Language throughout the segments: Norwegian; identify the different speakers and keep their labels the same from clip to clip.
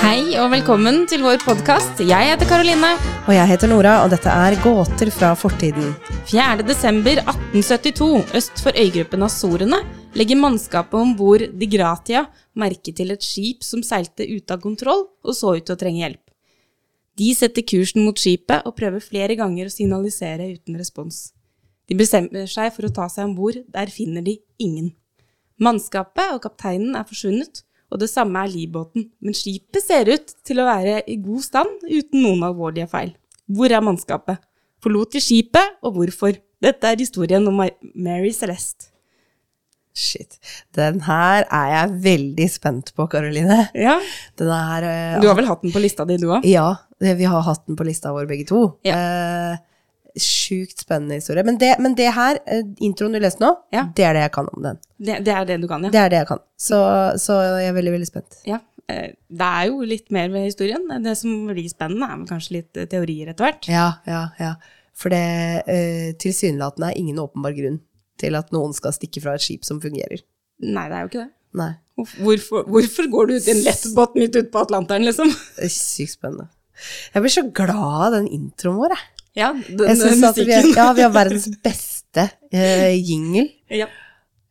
Speaker 1: Hei og velkommen til vår podkast. Jeg heter Karoline.
Speaker 2: Og jeg heter Nora, og dette er Gåter fra fortiden.
Speaker 1: 4. desember 1872, øst for øygruppen Azorene, legger mannskapet om bord Di Gratia merke til et skip som seilte ute av kontroll og så ut til å trenge hjelp. De setter kursen mot skipet og prøver flere ganger å signalisere uten respons. De bestemmer seg for å ta seg om bord, der finner de ingen. Mannskapet og kapteinen er forsvunnet, og det samme er livbåten, men skipet ser ut til å være i god stand uten noen alvorlige feil. Hvor er mannskapet? Forlot de skipet, og hvorfor? Dette er historien om Ma- Mary Celeste.
Speaker 2: Shit. Den her er jeg veldig spent på, Karoline.
Speaker 1: Ja,
Speaker 2: Den er eh,
Speaker 1: Du har vel hatt den på lista di, du òg?
Speaker 2: Ja, det- vi har hatt den på lista vår begge to.
Speaker 1: Ja.
Speaker 2: Eh, sjukt spennende historie. Men det, men det her, eh, introen du leste nå,
Speaker 1: Ja.
Speaker 2: det er det jeg kan om den.
Speaker 1: Det, det er det du kan, ja.
Speaker 2: Det er det jeg kan. Så, så jeg er veldig, veldig spent.
Speaker 1: ja. eh, Det er jo litt mer ved historien. Det som blir spennende, er vel kanskje litt eh, teorier etter hvert.
Speaker 2: Ja, ja, ja. For det eh, tilsynelatende er ingen åpenbar grunn til at noen skal stikke fra et skip som fungerer.
Speaker 1: Nei, det er jo ikke det.
Speaker 2: Nei.
Speaker 1: Hvorf- Hvorfor, hvorfor går du ut i en lettbåt midt ute på Atlanteren, liksom?
Speaker 2: Det er Sykt spennende. Jeg blir så glad av den introen vår, jeg.
Speaker 1: Ja, den
Speaker 2: jeg
Speaker 1: eh,
Speaker 2: synes at vi,
Speaker 1: musikken.
Speaker 2: ja, vi har verdens beste eh, jingle.
Speaker 1: Ja.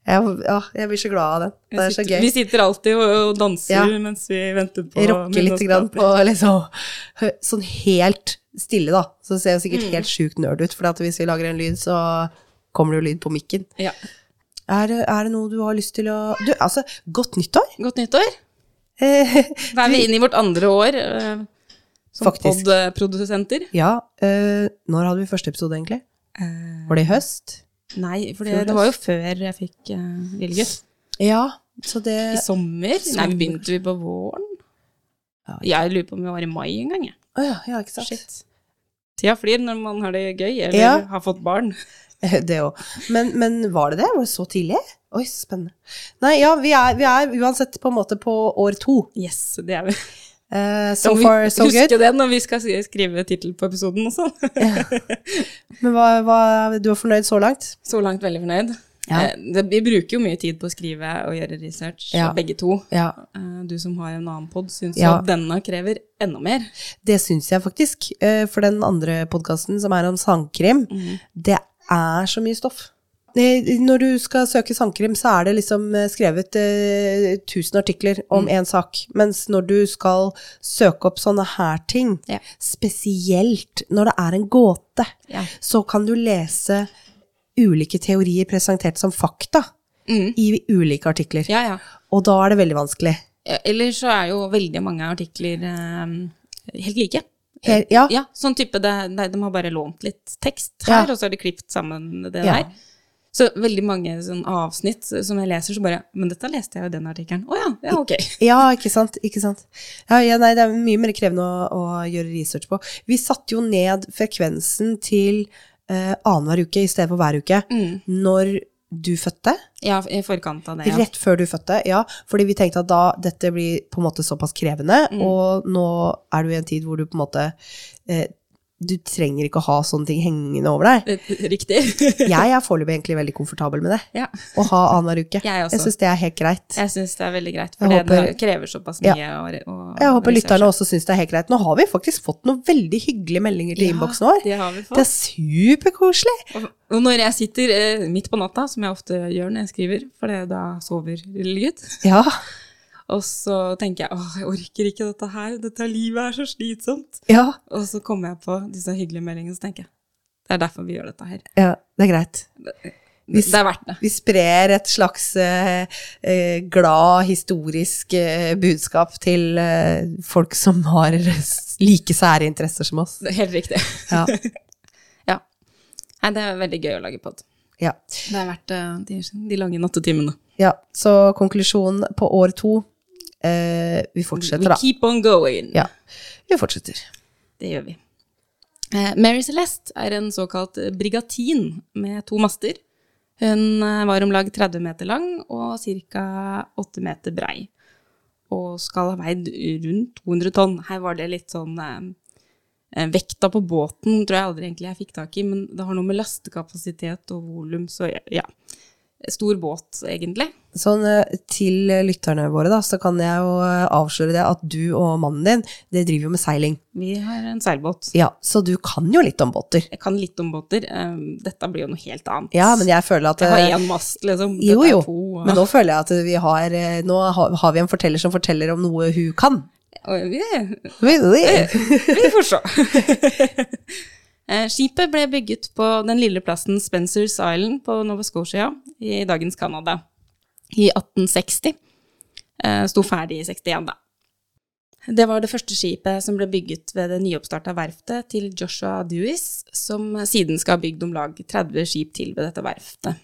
Speaker 2: Jeg, ja, jeg blir så glad av den. Det er så
Speaker 1: sitter, Vi
Speaker 2: gøy.
Speaker 1: sitter alltid og, og danser
Speaker 2: Ja.
Speaker 1: mens vi venter på
Speaker 2: Jeg rocker litt
Speaker 1: middagsmaten.
Speaker 2: grann på liksom hø- Sånn helt stille, da. Så ser jeg
Speaker 1: Mm.
Speaker 2: sikkert helt sjukt nerd ut, for at hvis vi lager en lyd, så kommer det jo lyd på mikken.
Speaker 1: Ja.
Speaker 2: Er, det- er det noe du har lyst til å Du, altså, godt nyttår!
Speaker 1: Godt nyttår.
Speaker 2: Eh,
Speaker 1: Da er vi inne i vårt andre år eh, som
Speaker 2: Faktisk.
Speaker 1: podprodusenter.
Speaker 2: ja, eh, når hadde vi første episode, egentlig?
Speaker 1: Eh.
Speaker 2: Var det i høst?
Speaker 1: Nei, for
Speaker 2: Fjor
Speaker 1: det, det var jo før jeg fikk uh, Vilget.
Speaker 2: Ja, så det
Speaker 1: I sommer? Nei,
Speaker 2: eh, sommer.
Speaker 1: vi begynte vi på våren? Jeg lurer på om vi var i mai en gang, jeg.
Speaker 2: Å ja, ja, ikke sant.
Speaker 1: Shit. Tida flyr når man har det gøy, eller
Speaker 2: Ja.
Speaker 1: har fått barn.
Speaker 2: Det òg. Men, men var det det? Var det så tidlig? Oi, så spennende. Nei, ja, vi er, vi er uansett på en måte på år to.
Speaker 1: Yes, det er vi.
Speaker 2: Eh, so
Speaker 1: Må vi
Speaker 2: far, so
Speaker 1: huske
Speaker 2: good.
Speaker 1: det når vi skal skrive tittel på episoden og sånn.
Speaker 2: Men hva, hva, du er fornøyd så langt?
Speaker 1: Så langt veldig fornøyd.
Speaker 2: Ja.
Speaker 1: Eh, det, vi bruker jo mye tid på å skrive og gjøre research,
Speaker 2: Ja.
Speaker 1: begge to.
Speaker 2: Ja.
Speaker 1: Eh, du som har en annen pod, syns jo
Speaker 2: Ja.
Speaker 1: at denne krever enda mer.
Speaker 2: Det syns jeg faktisk. Eh, for den andre podkasten som er om sandkrim,
Speaker 1: Mhm.
Speaker 2: det er så mye stoff. Eh, Når du skal søke sandkrim, så er det liksom eh, skrevet eh, 1000 artikler om
Speaker 1: Mm.
Speaker 2: én sak. Mens når du skal søke opp sånne her ting,
Speaker 1: Ja.
Speaker 2: spesielt når det er en gåte,
Speaker 1: Ja.
Speaker 2: så kan du lese ulike teorier presentert som fakta
Speaker 1: Mm.
Speaker 2: i ulike artikler.
Speaker 1: Ja, ja.
Speaker 2: Og da er det veldig vanskelig.
Speaker 1: Eh, Eller så er jo veldig mange artikler eh, helt like.
Speaker 2: Her, ja,
Speaker 1: Ja, sånn type det, nei, De har bare lånt litt tekst
Speaker 2: Ja.
Speaker 1: her, og så har de klippet sammen det
Speaker 2: Ja.
Speaker 1: der. Så veldig mange sånn avsnitt som jeg leser, så bare Men dette leste jeg jo i den artikkelen. Å ja, ja, ok.
Speaker 2: Ja, ikke sant. Ikke sant. Ja, ja, nei, det er mye mer krevende å, å gjøre research på. Vi satte jo ned frekvensen til eh, annenhver uke i stedet for hver uke.
Speaker 1: Mm.
Speaker 2: Når du fødte,
Speaker 1: Ja, i forkant av det. Ja.
Speaker 2: rett før du fødte, ja. Fordi vi tenkte at da dette blir på en måte såpass krevende,
Speaker 1: Mm.
Speaker 2: og nå er du i en tid hvor du på en måte eh, Du trenger ikke å ha sånne ting hengende over deg.
Speaker 1: Eh, Riktig.
Speaker 2: Jeg er foreløpig egentlig veldig komfortabel med det.
Speaker 1: ja.
Speaker 2: Å ha annenhver uke.
Speaker 1: Jeg også.
Speaker 2: jeg syns det er helt greit.
Speaker 1: Jeg syns det er veldig greit,
Speaker 2: Jeg
Speaker 1: for det, det
Speaker 2: håper-
Speaker 1: krever såpass
Speaker 2: Ja.
Speaker 1: mye. å- å
Speaker 2: Jeg håper
Speaker 1: researche.
Speaker 2: lytterne også syns det er helt greit. Nå har vi faktisk fått noen veldig hyggelige meldinger til
Speaker 1: Ja,
Speaker 2: innboksen vår.
Speaker 1: Det har vi
Speaker 2: Det
Speaker 1: fått.
Speaker 2: er superkoselig.
Speaker 1: Og- Og når jeg sitter eh, midt på natta, som jeg ofte gjør når jeg skriver, for det, da sover lille gutt,
Speaker 2: Ja.
Speaker 1: og så tenker jeg åh, jeg orker ikke dette her, dette livet er så slitsomt.
Speaker 2: ja.
Speaker 1: Og så kommer jeg på disse hyggelige meldingene, så tenker jeg det er derfor vi gjør dette her.
Speaker 2: Ja, det er greit. Vi,
Speaker 1: Det er verdt det.
Speaker 2: vi sprer et slags eh, eh, glad, historisk eh, budskap til eh, folk som har s- like sære interesser som oss.
Speaker 1: det er helt riktig.
Speaker 2: Ja.
Speaker 1: Ja. Nei, det er veldig gøy å lage pod.
Speaker 2: ja.
Speaker 1: Det er verdt eh, de, de lange nattetimene.
Speaker 2: ja. Så konklusjonen på år to eh, Vi fortsetter,
Speaker 1: We
Speaker 2: da.
Speaker 1: keep on going.
Speaker 2: Ja. Vi fortsetter.
Speaker 1: Det gjør vi. Eh, Mary Celeste er en såkalt brigatin med to master. Hun eh, var om lag 30 meter lang og ca. 8 meter brei. Og skal ha veid rundt 200 tonn. Her var det litt sånn eh, eh, Vekta på båten tror jeg aldri egentlig jeg fikk tak i, men det har noe med lastekapasitet og volum, så ja. stor båt, egentlig.
Speaker 2: Sånn eh, til eh, lytterne våre, da, så kan jeg jo eh, avsløre det at du og mannen din, det driver jo med seiling.
Speaker 1: Vi har en seilbåt.
Speaker 2: Ja, så du kan jo litt om båter.
Speaker 1: Jeg kan litt om båter. eh, Dette blir jo noe helt annet.
Speaker 2: Ja, men jeg føler at
Speaker 1: Jeg
Speaker 2: eh,
Speaker 1: har én mast, liksom. Dette
Speaker 2: Jo,
Speaker 1: er
Speaker 2: jo.
Speaker 1: To, og...
Speaker 2: Men nå føler jeg at vi har eh, Nå har har vi en forteller som forteller om noe hun kan.
Speaker 1: og vi,
Speaker 2: Really?
Speaker 1: vi får se. Eh, Skipet ble bygget på den lille plassen Spencers Island på Nova Scotia i dagens Canada i 1860. Eh, Sto ferdig i 61, da. Det var det første skipet som ble bygget ved det nyoppstarta verftet til Joshua Dewis, som siden skal ha bygd om lag 30 skip til ved dette verftet.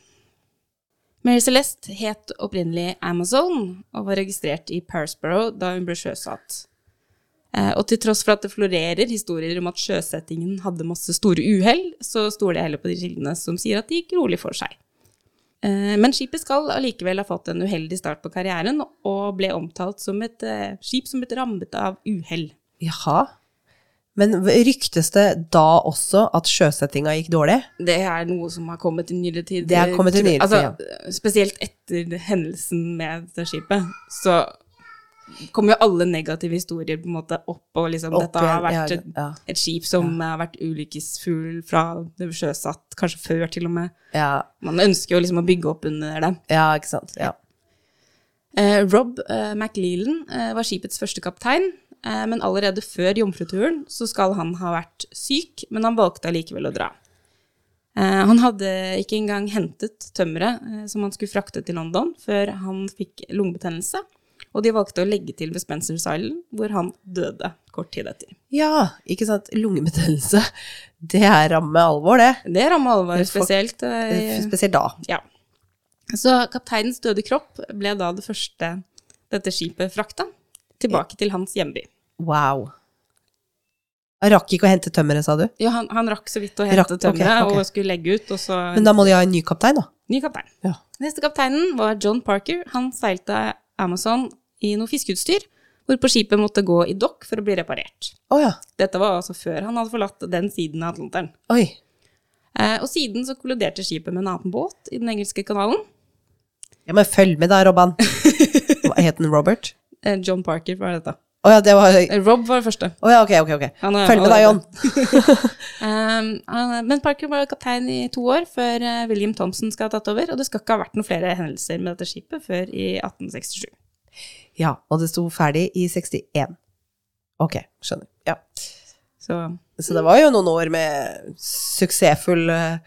Speaker 1: Mary Celeste het opprinnelig Amazon og var registrert i Parisborough da hun ble sjøsatt. Eh, Og til tross for at det florerer historier om at sjøsettingen hadde masse store uhell, så stoler jeg heller på de kildene som sier at det gikk rolig for seg. Eh, Men skipet skal allikevel ha fått en uheldig start på karrieren, og ble omtalt som et eh, skip som ble rammet av uhell.
Speaker 2: Jaha. Men v- ryktes det da også at sjøsettinga gikk dårlig?
Speaker 1: Det er noe som har kommet i nyere tid.
Speaker 2: Det har kommet i nyere tid,
Speaker 1: Altså, spesielt etter hendelsen med det skipet, så kom jo alle negative historier på en måte opp, og liksom
Speaker 2: Opp
Speaker 1: dette har
Speaker 2: igjen,
Speaker 1: vært
Speaker 2: ja,
Speaker 1: et,
Speaker 2: ja.
Speaker 1: et skip som har vært ulykkesfull fra det ble sjøsatt, kanskje før til og med.
Speaker 2: Ja,
Speaker 1: Man ønsker jo liksom å bygge opp under det.
Speaker 2: ja ikke sant. Ja.
Speaker 1: Eh, Rob eh, McLeland eh, var skipets første kaptein, eh, men allerede før jomfruturen så skal han ha vært syk, men han valgte allikevel å dra. Eh, han hadde ikke engang hentet tømmeret eh, som han skulle frakte til London, før han fikk lungebetennelse, og de valgte å legge til ved Spencer's Island, hvor han døde kort tid etter.
Speaker 2: ja, ikke sant. Lungebetennelse. Det er ramme alvor, det.
Speaker 1: Det rammer alvor
Speaker 2: Folk-
Speaker 1: spesielt. eh,
Speaker 2: Spesielt da.
Speaker 1: ja. Så kapteinens døde kropp ble da det første dette skipet frakta, tilbake til hans hjemby.
Speaker 2: Wow. Jeg rakk ikke å hente tømmeret, sa du?
Speaker 1: Ja, han, han rakk så vidt å
Speaker 2: Rakk,
Speaker 1: hente
Speaker 2: ok,
Speaker 1: tømmeret
Speaker 2: ok.
Speaker 1: og skulle legge ut, og så
Speaker 2: Men da må de ha en ny kaptein, da.
Speaker 1: ny kaptein.
Speaker 2: Ja.
Speaker 1: Neste kapteinen var John Parker. Han seilte Amazon i noe fiskeutstyr, hvorpå skipet måtte gå i dokk for å bli reparert.
Speaker 2: Å ja.
Speaker 1: Dette var altså før han hadde forlatt den siden av Atlanteren.
Speaker 2: Oi.
Speaker 1: Eh, og siden så kolliderte skipet med en annen båt i den engelske kanalen.
Speaker 2: Ja, men følg med da, Robban. Hva het den Robert?
Speaker 1: Eh, John Parker var dette.
Speaker 2: Å ja, det var
Speaker 1: Eh, Rob var første.
Speaker 2: Å ja, ok, ok. ok.
Speaker 1: Han er-
Speaker 2: Følg med
Speaker 1: han
Speaker 2: da,
Speaker 1: er-
Speaker 2: John.
Speaker 1: Um, han- men Parker var kaptein i to år før eh, William Thompson skal ha tatt over, og det skal ikke ha vært noen flere hendelser med dette skipet før i 1867.
Speaker 2: Ja, og det sto ferdig i 61. Ok, skjønner. Ja.
Speaker 1: Så
Speaker 2: Så det var jo noen år med suksessfull eh,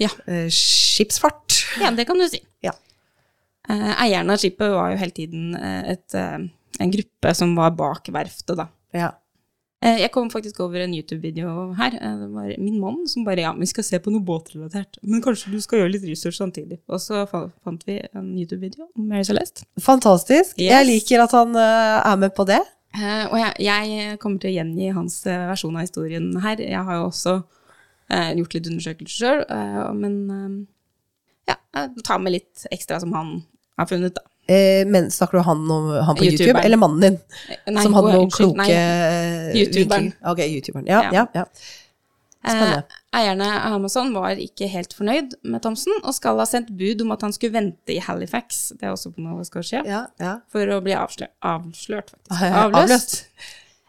Speaker 1: Ja.
Speaker 2: eh, skipsfart.
Speaker 1: ja, det kan du si.
Speaker 2: Ja.
Speaker 1: Eh, eieren av skipet var jo hele tiden eh, et, eh, en gruppe som var bak verftet, da.
Speaker 2: Ja.
Speaker 1: Eh, jeg kom faktisk over en YouTube-video her. Eh, det var min mann som bare Ja, vi skal se på noe båtrelatert, men kanskje du skal gjøre litt research samtidig. Og så fa- fant vi en YouTube-video om Mary Celeste.
Speaker 2: Fantastisk. Jeg
Speaker 1: Yes.
Speaker 2: liker at han eh, er med på det.
Speaker 1: Eh, og jeg, jeg kommer til å gjengi hans eh, versjon av historien her. Jeg har jo også eh, gjort litt undersøkelser sjøl, eh, men eh, ja, jeg tar med litt ekstra som han har funnet, da.
Speaker 2: Eh, men snakker du han, om, han på YouTube,
Speaker 1: YouTuberen.
Speaker 2: eller mannen din?
Speaker 1: Eh, nei,
Speaker 2: som hadde
Speaker 1: å,
Speaker 2: noen
Speaker 1: unnskyld,
Speaker 2: kloke
Speaker 1: nei.
Speaker 2: eh,
Speaker 1: YouTuberen.
Speaker 2: vinklinger. Ok, youtuberen. Ja, ja. ja, Spennende.
Speaker 1: Eh, eierne av Amazon var ikke helt fornøyd med Thomsen, og skal ha sendt bud om at han skulle vente i Halifax, det er også på Nova Scotia,
Speaker 2: ja, ja.
Speaker 1: for å bli avslørt, avslørt faktisk.
Speaker 2: Ah, Avløst.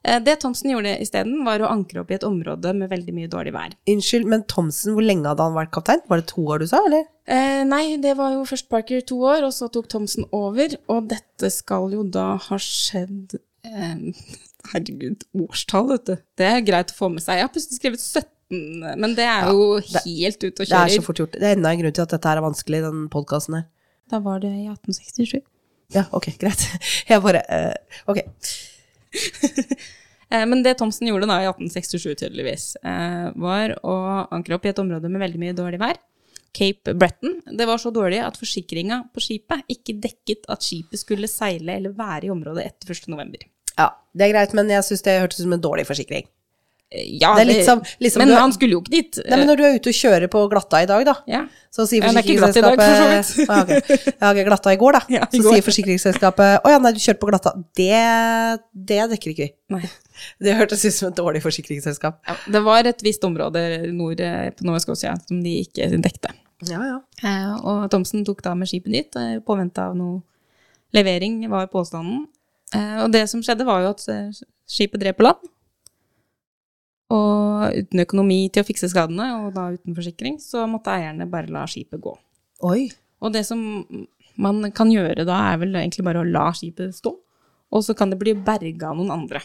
Speaker 1: Eh, Det Thomsen gjorde isteden, var å ankre opp i et område med veldig mye dårlig vær.
Speaker 2: Unnskyld, men Thomsen, hvor lenge hadde han vært kaptein? Var det to år du sa, eller?
Speaker 1: Eh, nei, det var jo først Parker i to år, og så tok Thomsen over. Og dette skal jo da ha skjedd eh, Herregud, årstall, vet du. Det er greit å få med seg. Jeg har plutselig skrevet 17, men det er jo helt ute å
Speaker 2: Det er så
Speaker 1: kjøre.
Speaker 2: fort gjort. Det er enda en grunn til at dette her er vanskelig, den podkasten her.
Speaker 1: Da var det i 1867.
Speaker 2: Ja, ok, greit. Jeg bare eh, Ok.
Speaker 1: Eh, Men det Thomsen gjorde da i 1867 tydeligvis, eh, var å ankre opp i et område med veldig mye dårlig vær. Cape Breton. Det var så dårlig at forsikringa på skipet ikke dekket at skipet skulle seile eller være i området etter 1. november.
Speaker 2: Ja, det er greit, men jeg syns det hørtes ut som en dårlig forsikring.
Speaker 1: Eh, Ja,
Speaker 2: Det er litt som- litt som
Speaker 1: men
Speaker 2: du-
Speaker 1: han skulle jo ikke dit.
Speaker 2: Nei, men når du er ute og kjører på glatta i dag, da,
Speaker 1: Eh. ja.
Speaker 2: så sier
Speaker 1: Ja, det er ikke glatt i dag,
Speaker 2: forsikringsselskapet
Speaker 1: for så vidt.
Speaker 2: Ah, ok. Ja, ok, glatta i går, da.
Speaker 1: Ja, i
Speaker 2: så
Speaker 1: går.
Speaker 2: sier forsikringsselskapet å ja, nei, du kjørte på glatta. Det, det dekker ikke vi.
Speaker 1: Nei.
Speaker 2: Det hørtes ut som et dårlig forsikringsselskap.
Speaker 1: Ja, det var et visst område nord eh, på Nova Scotia som de ikke dekte.
Speaker 2: Ja, ja.
Speaker 1: Eh, og Thomsen tok da med skipet dit, eh, påvente av noe levering, var påstanden. Eh, og det som skjedde, var jo at eh, skipet drev på land. Og uten økonomi til å fikse skadene, og da uten forsikring, så måtte eierne bare la skipet gå.
Speaker 2: Oi.
Speaker 1: Og det som man kan gjøre da, er vel egentlig bare å la skipet stå, og så kan det bli berga av noen andre.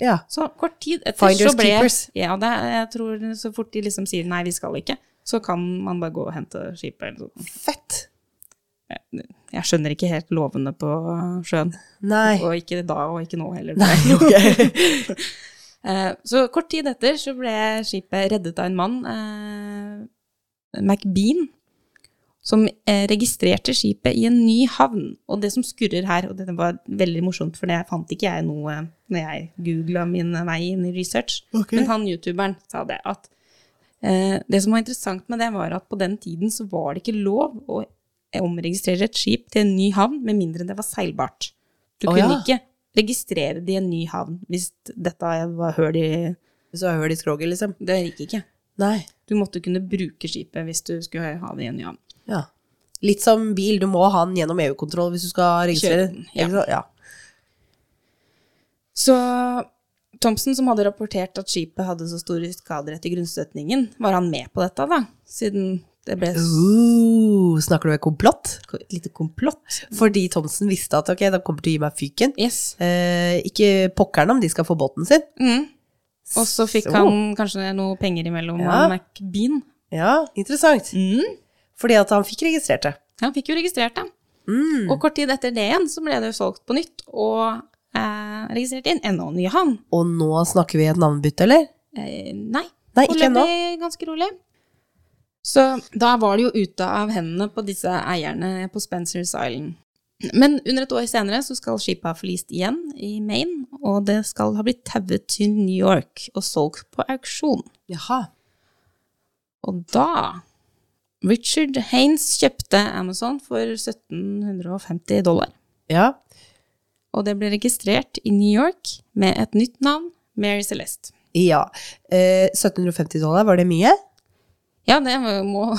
Speaker 2: Ja.
Speaker 1: Så kort tid etter
Speaker 2: Finders
Speaker 1: så ble
Speaker 2: keepers.
Speaker 1: Ja, det, er- jeg tror så fort de liksom sier nei, vi skal ikke, så kan man bare gå og hente skipet eller noe sånt
Speaker 2: Fett.
Speaker 1: jeg skjønner ikke helt lovene på sjøen.
Speaker 2: Nei.
Speaker 1: Og ikke da, og ikke nå heller.
Speaker 2: Nei, ok.
Speaker 1: Eh, Så kort tid etter så ble skipet reddet av en mann, eh, McBean, som eh, registrerte skipet i en ny havn. Og det som skurrer her, og dette var veldig morsomt, for det fant ikke jeg noe når jeg googla min vei inn i research,
Speaker 2: Ok.
Speaker 1: men han youtuberen sa det, at eh, det som var interessant med det, var at på den tiden så var det ikke lov å omregistrere et skip til en ny havn, med mindre det var seilbart. Du
Speaker 2: Å,
Speaker 1: kunne
Speaker 2: ja.
Speaker 1: ikke registrere det i en ny havn hvis dette var høl i
Speaker 2: Så har jeg hørt i skroget, liksom.
Speaker 1: Det gikk ikke.
Speaker 2: Nei.
Speaker 1: Du måtte kunne bruke skipet hvis du skulle ha det i en ny havn.
Speaker 2: Ja. Litt som bil, du må ha den gjennom EU-kontroll hvis du skal registrere.
Speaker 1: Kjøre den, ja.
Speaker 2: Ikke sant? Ja.
Speaker 1: Så Thomsen, som hadde rapportert at skipet hadde så store skader etter grunnstøtningen, var han med på dette, da? Siden det ble s-
Speaker 2: Uh, snakker du om et komplott?
Speaker 1: et lite komplott?
Speaker 2: Fordi Thomsen visste at ok, de kommer til å gi meg fyken.
Speaker 1: Yes.
Speaker 2: Eh, ikke pokkeren om de skal få båten sin.
Speaker 1: Mm. Og så fikk
Speaker 2: Så.
Speaker 1: han kanskje noe penger imellom
Speaker 2: Ja.
Speaker 1: av McBean.
Speaker 2: Ja, interessant.
Speaker 1: Mm.
Speaker 2: Fordi at han fikk registrert det.
Speaker 1: Han fikk jo registrert det.
Speaker 2: Mm.
Speaker 1: Og kort tid etter det igjen så ble det jo solgt på nytt og eh, registrert i en enda ny havn.
Speaker 2: Og nå snakker vi et navnebytte, eller?
Speaker 1: Eh, nei.
Speaker 2: Nei,
Speaker 1: Foreløpig
Speaker 2: ikke ennå.
Speaker 1: ganske rolig. Så da var det jo ute av hendene på disse eierne på Spencers Island. Men under et år senere så skal skipet ha forlist igjen i Maine, og det skal ha blitt tauet til New York og solgt på auksjon.
Speaker 2: Jaha.
Speaker 1: Og da Richard Haines kjøpte Amazon for 1750 dollar.
Speaker 2: Ja.
Speaker 1: Og det ble registrert i New York med et nytt navn, Mary Celeste.
Speaker 2: ja. Eh, 1750 dollar, var det mye?
Speaker 1: Ja, det må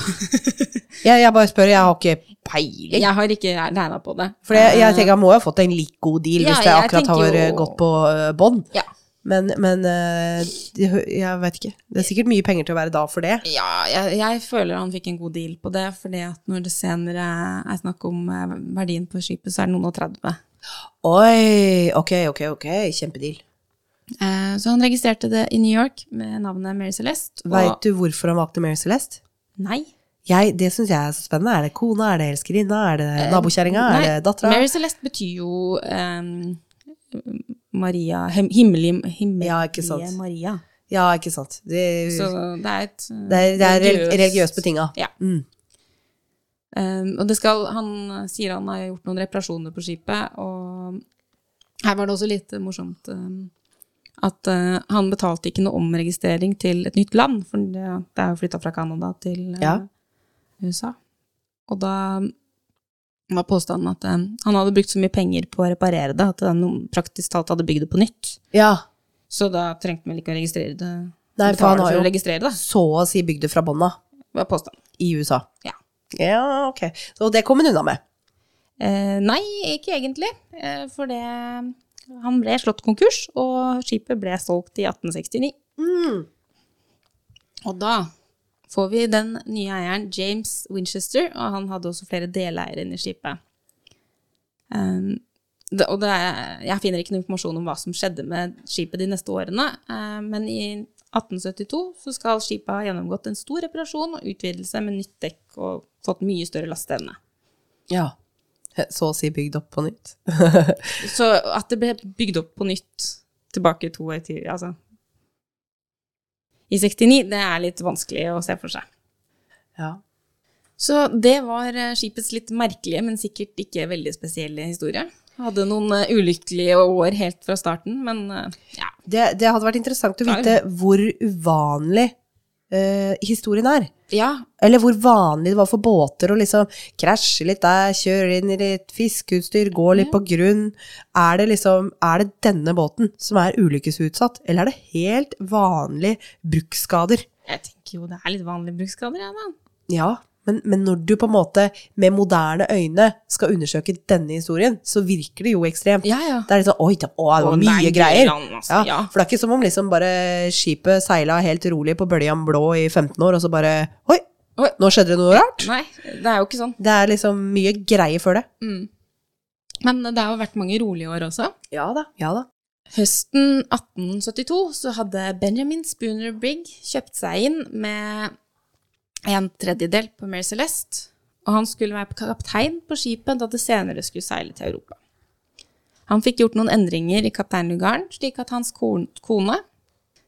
Speaker 2: Jeg, jeg bare spør, jeg har ikke peiling.
Speaker 1: Jeg har ikke regna på det.
Speaker 2: For jeg, jeg tenker han må jo ha fått en litt god deal
Speaker 1: Ja,
Speaker 2: hvis det
Speaker 1: jeg
Speaker 2: akkurat har
Speaker 1: tenker jo-
Speaker 2: gått på eh, bånd.
Speaker 1: Ja.
Speaker 2: Men, men eh, det hø- jeg vet ikke. Det er sikkert mye penger til å være da for det.
Speaker 1: Ja, jeg, jeg føler han fikk en god deal på det, fordi at når det senere er snakk om eh, verdien på skipet, så er det noen og 30.
Speaker 2: Oi, ok, ok, ok. Kjempedeal.
Speaker 1: Eh, Så han registrerte det i New York med navnet Mary Celeste. Og
Speaker 2: Veit du hvorfor han valgte Mary Celeste?
Speaker 1: Nei.
Speaker 2: Jeg, det syns jeg er så spennende. Er det kona, er det elskerinna, er det nabokjerringa, er
Speaker 1: Eh, nei,
Speaker 2: det dattera?
Speaker 1: Mary Celeste betyr jo eh, Maria him, Himmelig himmel,
Speaker 2: Ja, ikke sant.
Speaker 1: Maria.
Speaker 2: Ja, ikke sant. Det,
Speaker 1: Så det er et eh,
Speaker 2: Mm. det er, det er religiøst, religiøst betinga.
Speaker 1: Ja.
Speaker 2: Mm.
Speaker 1: Um, og det skal, han sier han har gjort noen reparasjoner på skipet, og her var det også litt morsomt um, at uh, han betalte ikke noe omregistrering til et nytt land, for det, det er jo flytta fra Canada til uh,
Speaker 2: Ja.
Speaker 1: USA. Og da var påstanden at um, han hadde brukt så mye penger på å reparere det at han praktisk talt hadde bygd det på nytt.
Speaker 2: ja.
Speaker 1: Så da trengte man vel ikke å registrere det.
Speaker 2: Nei, for
Speaker 1: betale
Speaker 2: han har
Speaker 1: for å
Speaker 2: jo
Speaker 1: registrere det,
Speaker 2: så å si bygd det fra bånda
Speaker 1: var påstanden.
Speaker 2: i USA.
Speaker 1: Ja.
Speaker 2: ja, ok. Så det kom hun unna med.
Speaker 1: Eh, nei, ikke egentlig. Eh, for det Han ble slått konkurs, og skipet ble solgt i 1869.
Speaker 2: Mm.
Speaker 1: Og da får vi den nye eieren James Winchester, og han hadde også flere deleiere inni skipet. Eh, det, og det er, jeg finner ikke noe informasjon om hva som skjedde med skipet de neste årene, eh, men i 1872 så skal skipet ha gjennomgått en stor reparasjon og utvidelse med nytt dekk og fått mye større lasteevne.
Speaker 2: Ja. Så å si bygd opp på nytt.
Speaker 1: Så at det ble bygd opp på nytt tilbake to år til, altså I 69, det er litt vanskelig å se for seg.
Speaker 2: ja.
Speaker 1: Så det var eh, skipets litt merkelige, men sikkert ikke veldig spesielle historie. Hadde noen eh, ulykkelige år helt fra starten, men eh, ja.
Speaker 2: Det, det hadde vært interessant å vite hvor uvanlig eh, historien er.
Speaker 1: ja.
Speaker 2: Eller hvor vanlig det var for båter å liksom krasje litt der, kjøre inn i litt fiskeutstyr, gå litt på grunn. Er det liksom, er det denne båten som er ulykkesutsatt, eller er det helt vanlige bruksskader?
Speaker 1: Jeg tenker jo det er litt vanlige bruksskader, jeg, da.
Speaker 2: Ja, Men, men når du på en måte med moderne øyne skal undersøke denne historien, så virker det jo ekstremt.
Speaker 1: Ja, ja.
Speaker 2: Det er litt sånn Oi, det, å, det var
Speaker 1: Å,
Speaker 2: mye
Speaker 1: nei,
Speaker 2: greier.
Speaker 1: Grønland, altså,
Speaker 2: ja,
Speaker 1: ja.
Speaker 2: For det er ikke som om liksom bare skipet seila helt rolig på bøljan blå i 15 år, og så bare Oi,
Speaker 1: Oi.
Speaker 2: nå skjedde det noe rart.
Speaker 1: Nei, det er jo ikke sånn.
Speaker 2: Det er liksom mye greier før det.
Speaker 1: Men det har jo vært mange rolige år også.
Speaker 2: Ja da. Ja da.
Speaker 1: Høsten 1872 så hadde Benjamin Spooner Brigg kjøpt seg inn med en tredjedel på Mary Celeste, og han skulle være kaptein på skipet da det senere skulle seile til Europa. Han fikk gjort noen endringer i kapteinlugaren, slik at hans kon- kone,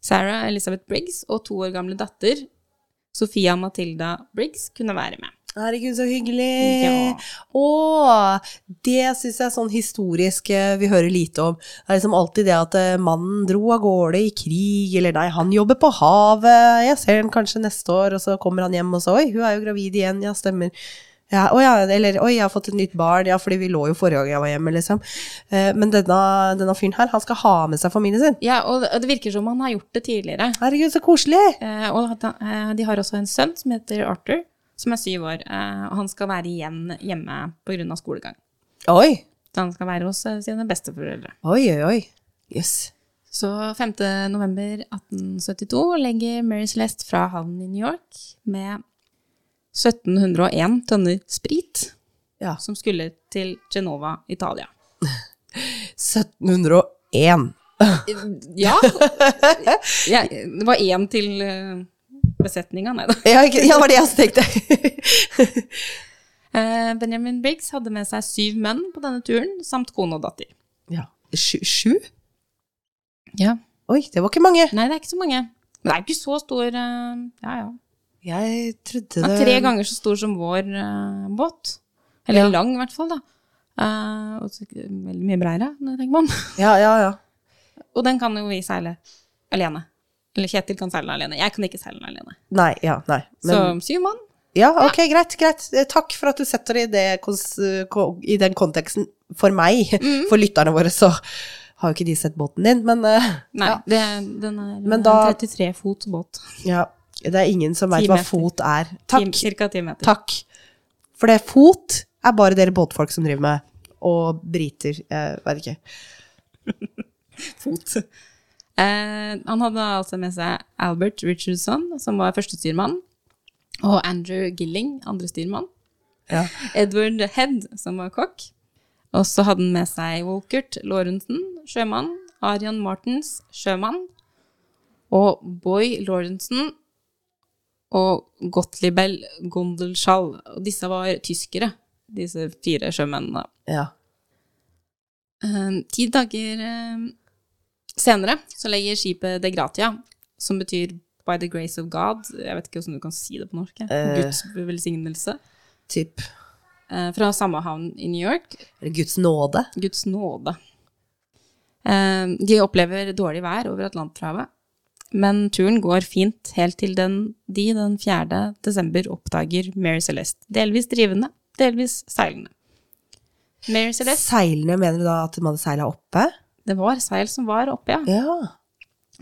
Speaker 1: Sarah Elizabeth Briggs, og to år gamle datter, Sofia Matilda Briggs, kunne være med.
Speaker 2: Herregud, så hyggelig!
Speaker 1: Ja.
Speaker 2: Å, det syns jeg er sånn historisk eh, vi hører lite om. Det er liksom alltid det at eh, mannen dro av gårde i krig, eller nei, han jobber på havet, jeg ser den kanskje neste år, og så kommer han hjem og så oi, hun er jo gravid igjen, ja, stemmer. Ja, å ja, eller oi, jeg har fått et nytt barn, ja, fordi vi lå jo forrige gang jeg var hjemme, liksom. Eh, Men denne, denne fyren her, han skal ha med seg familien sin.
Speaker 1: Ja, og og det virker som han har gjort det tidligere.
Speaker 2: Herregud, så koselig!
Speaker 1: Eh, og at han- eh, de har også en sønn som heter Arthur, som er syv år. Eh, og han skal være igjen hjemme pga. skolegang.
Speaker 2: Oi,
Speaker 1: Så han skal være hos eh, sine besteforeldre.
Speaker 2: oi, oi, oi. Jøss. Yes.
Speaker 1: Så 5. november 1872 legger Mary Celeste fra havnen i New York med 1701 tønner sprit,
Speaker 2: Ja.
Speaker 1: som skulle til Genova, Italia.
Speaker 2: 1701.
Speaker 1: Ja. ja det var én til eh, besetninga, nei da.
Speaker 2: Ja, ikke- ja, det var det jeg tenkte.
Speaker 1: Eh, Benjamin Briggs hadde med seg syv menn på denne turen, samt kone og datter.
Speaker 2: Ja. Sju, sju?
Speaker 1: Ja.
Speaker 2: Oi, det var ikke mange.
Speaker 1: Nei, det er ikke så mange. Men det er jo ikke så stor eh, Ja, ja.
Speaker 2: Jeg trodde
Speaker 1: Den
Speaker 2: det
Speaker 1: er tre ganger så stor som vår eh, båt. Eller lang, i hvert fall, da. Eh, og så, veldig mye breiere, når jeg tenker meg om.
Speaker 2: Ja, ja, ja.
Speaker 1: Og den kan jo vi seile alene. Eller Kjetil kan seile den alene. Jeg kan ikke seile den alene.
Speaker 2: Nei, ja, nei. Men,
Speaker 1: så syv mann.
Speaker 2: ja, ok, greit, greit. Eh, Takk for at du setter det i, det, kons- ko- i den konteksten for meg.
Speaker 1: Mm.
Speaker 2: For lytterne våre så har jo ikke de sett båten din, men eh,
Speaker 1: Nei, det, den er
Speaker 2: Men
Speaker 1: en
Speaker 2: da-
Speaker 1: 33 fot båt.
Speaker 2: ja, det er ingen som veit
Speaker 1: Ti
Speaker 2: hva
Speaker 1: meter.
Speaker 2: fot er. Takk,
Speaker 1: Ti- Cirka ti meter.
Speaker 2: takk. For det fot er bare dere båtfolk som driver med, og briter, jeg vet ikke.
Speaker 1: fot. Eh, han hadde altså med seg Albert Richardson, som var førstestyrmann, og Andrew Gilling, andre styrmann.
Speaker 2: Ja.
Speaker 1: Edward Head, som var kokk. Og så hadde han med seg Wolkert Lorentzen, sjømann. Arian Martens, sjømann. Og Boy Lorentzen og Gottliebel Gondelschall. Og disse var tyskere, disse fire sjømennene.
Speaker 2: Ja.
Speaker 1: Eh, Ti dager eh, senere så legger skipet De Gratia, som betyr By the grace of God. Jeg vet ikke hvordan du kan si det på norsk. jeg.
Speaker 2: Eh.
Speaker 1: Guds velsignelse.
Speaker 2: Typ.
Speaker 1: Eh, Fra samme havn i New York.
Speaker 2: Eller Guds nåde.
Speaker 1: Guds nåde. Eh, De opplever dårlig vær over Atlanterhavet, men turen går fint helt til den, de den 4. desember oppdager Mary Celeste. Delvis drivende, delvis seilende. Mary Celeste,
Speaker 2: Seilene, mener du da at man hadde seila oppe?
Speaker 1: det var seil som var oppe, ja.
Speaker 2: Ja.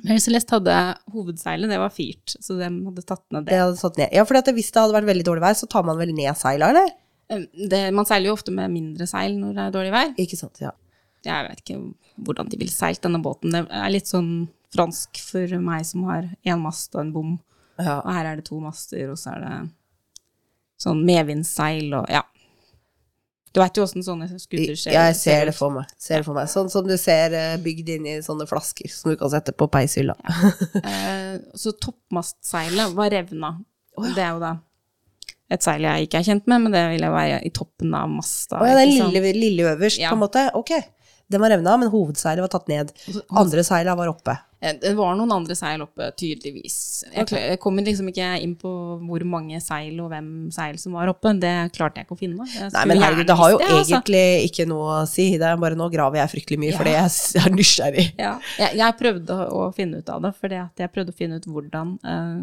Speaker 1: Mary Celeste hadde hovedseilet, det var fyrt, så de hadde tatt ned
Speaker 2: Det
Speaker 1: det.
Speaker 2: hadde satt ned. Ja, for hvis det hadde vært veldig dårlig vær, så tar man vel ned seila, eller?
Speaker 1: Eh, det. Man seiler jo ofte med mindre seil når det er dårlig vær.
Speaker 2: Ikke sant, ja.
Speaker 1: Jeg vet ikke hvordan de ville seilt denne båten. Det er litt sånn fransk for meg som har én mast og en bom,
Speaker 2: Ja,
Speaker 1: og her er det to master, og så er det sånn medvindsseil og ja. Du veit jo åssen sånne
Speaker 2: jeg,
Speaker 1: skuter ser
Speaker 2: jeg ser det
Speaker 1: ut.
Speaker 2: for meg. Ser det for meg. Sånn som du ser eh, bygd inn i sånne flasker som du kan sette på peishylla.
Speaker 1: Eh, Så toppmastseilet var revna. Det er jo da et seil jeg ikke er kjent med, men det ville være i toppen av masta.
Speaker 2: Å ja, den
Speaker 1: ikke sant?
Speaker 2: lille, lille øverst,
Speaker 1: Ja.
Speaker 2: på en måte. Ok. Den var revna, men hovedseilet var tatt ned. Andre seila var oppe.
Speaker 1: Eh, Det var noen andre seil oppe, tydeligvis. Jeg, kla- jeg kommer liksom ikke inn på hvor mange seil og hvem seil som var oppe. Det klarte jeg ikke å finne. Jeg
Speaker 2: Nei,
Speaker 1: skulle
Speaker 2: men
Speaker 1: gjerne
Speaker 2: herregud, det har jo
Speaker 1: visst det, altså.
Speaker 2: egentlig ikke noe å si. Det er bare nå graver jeg fryktelig mye, fordi jeg s- er nysgjerrig.
Speaker 1: Ja, jeg, jeg prøvde å, å finne ut av det, for jeg prøvde å finne ut hvordan eh,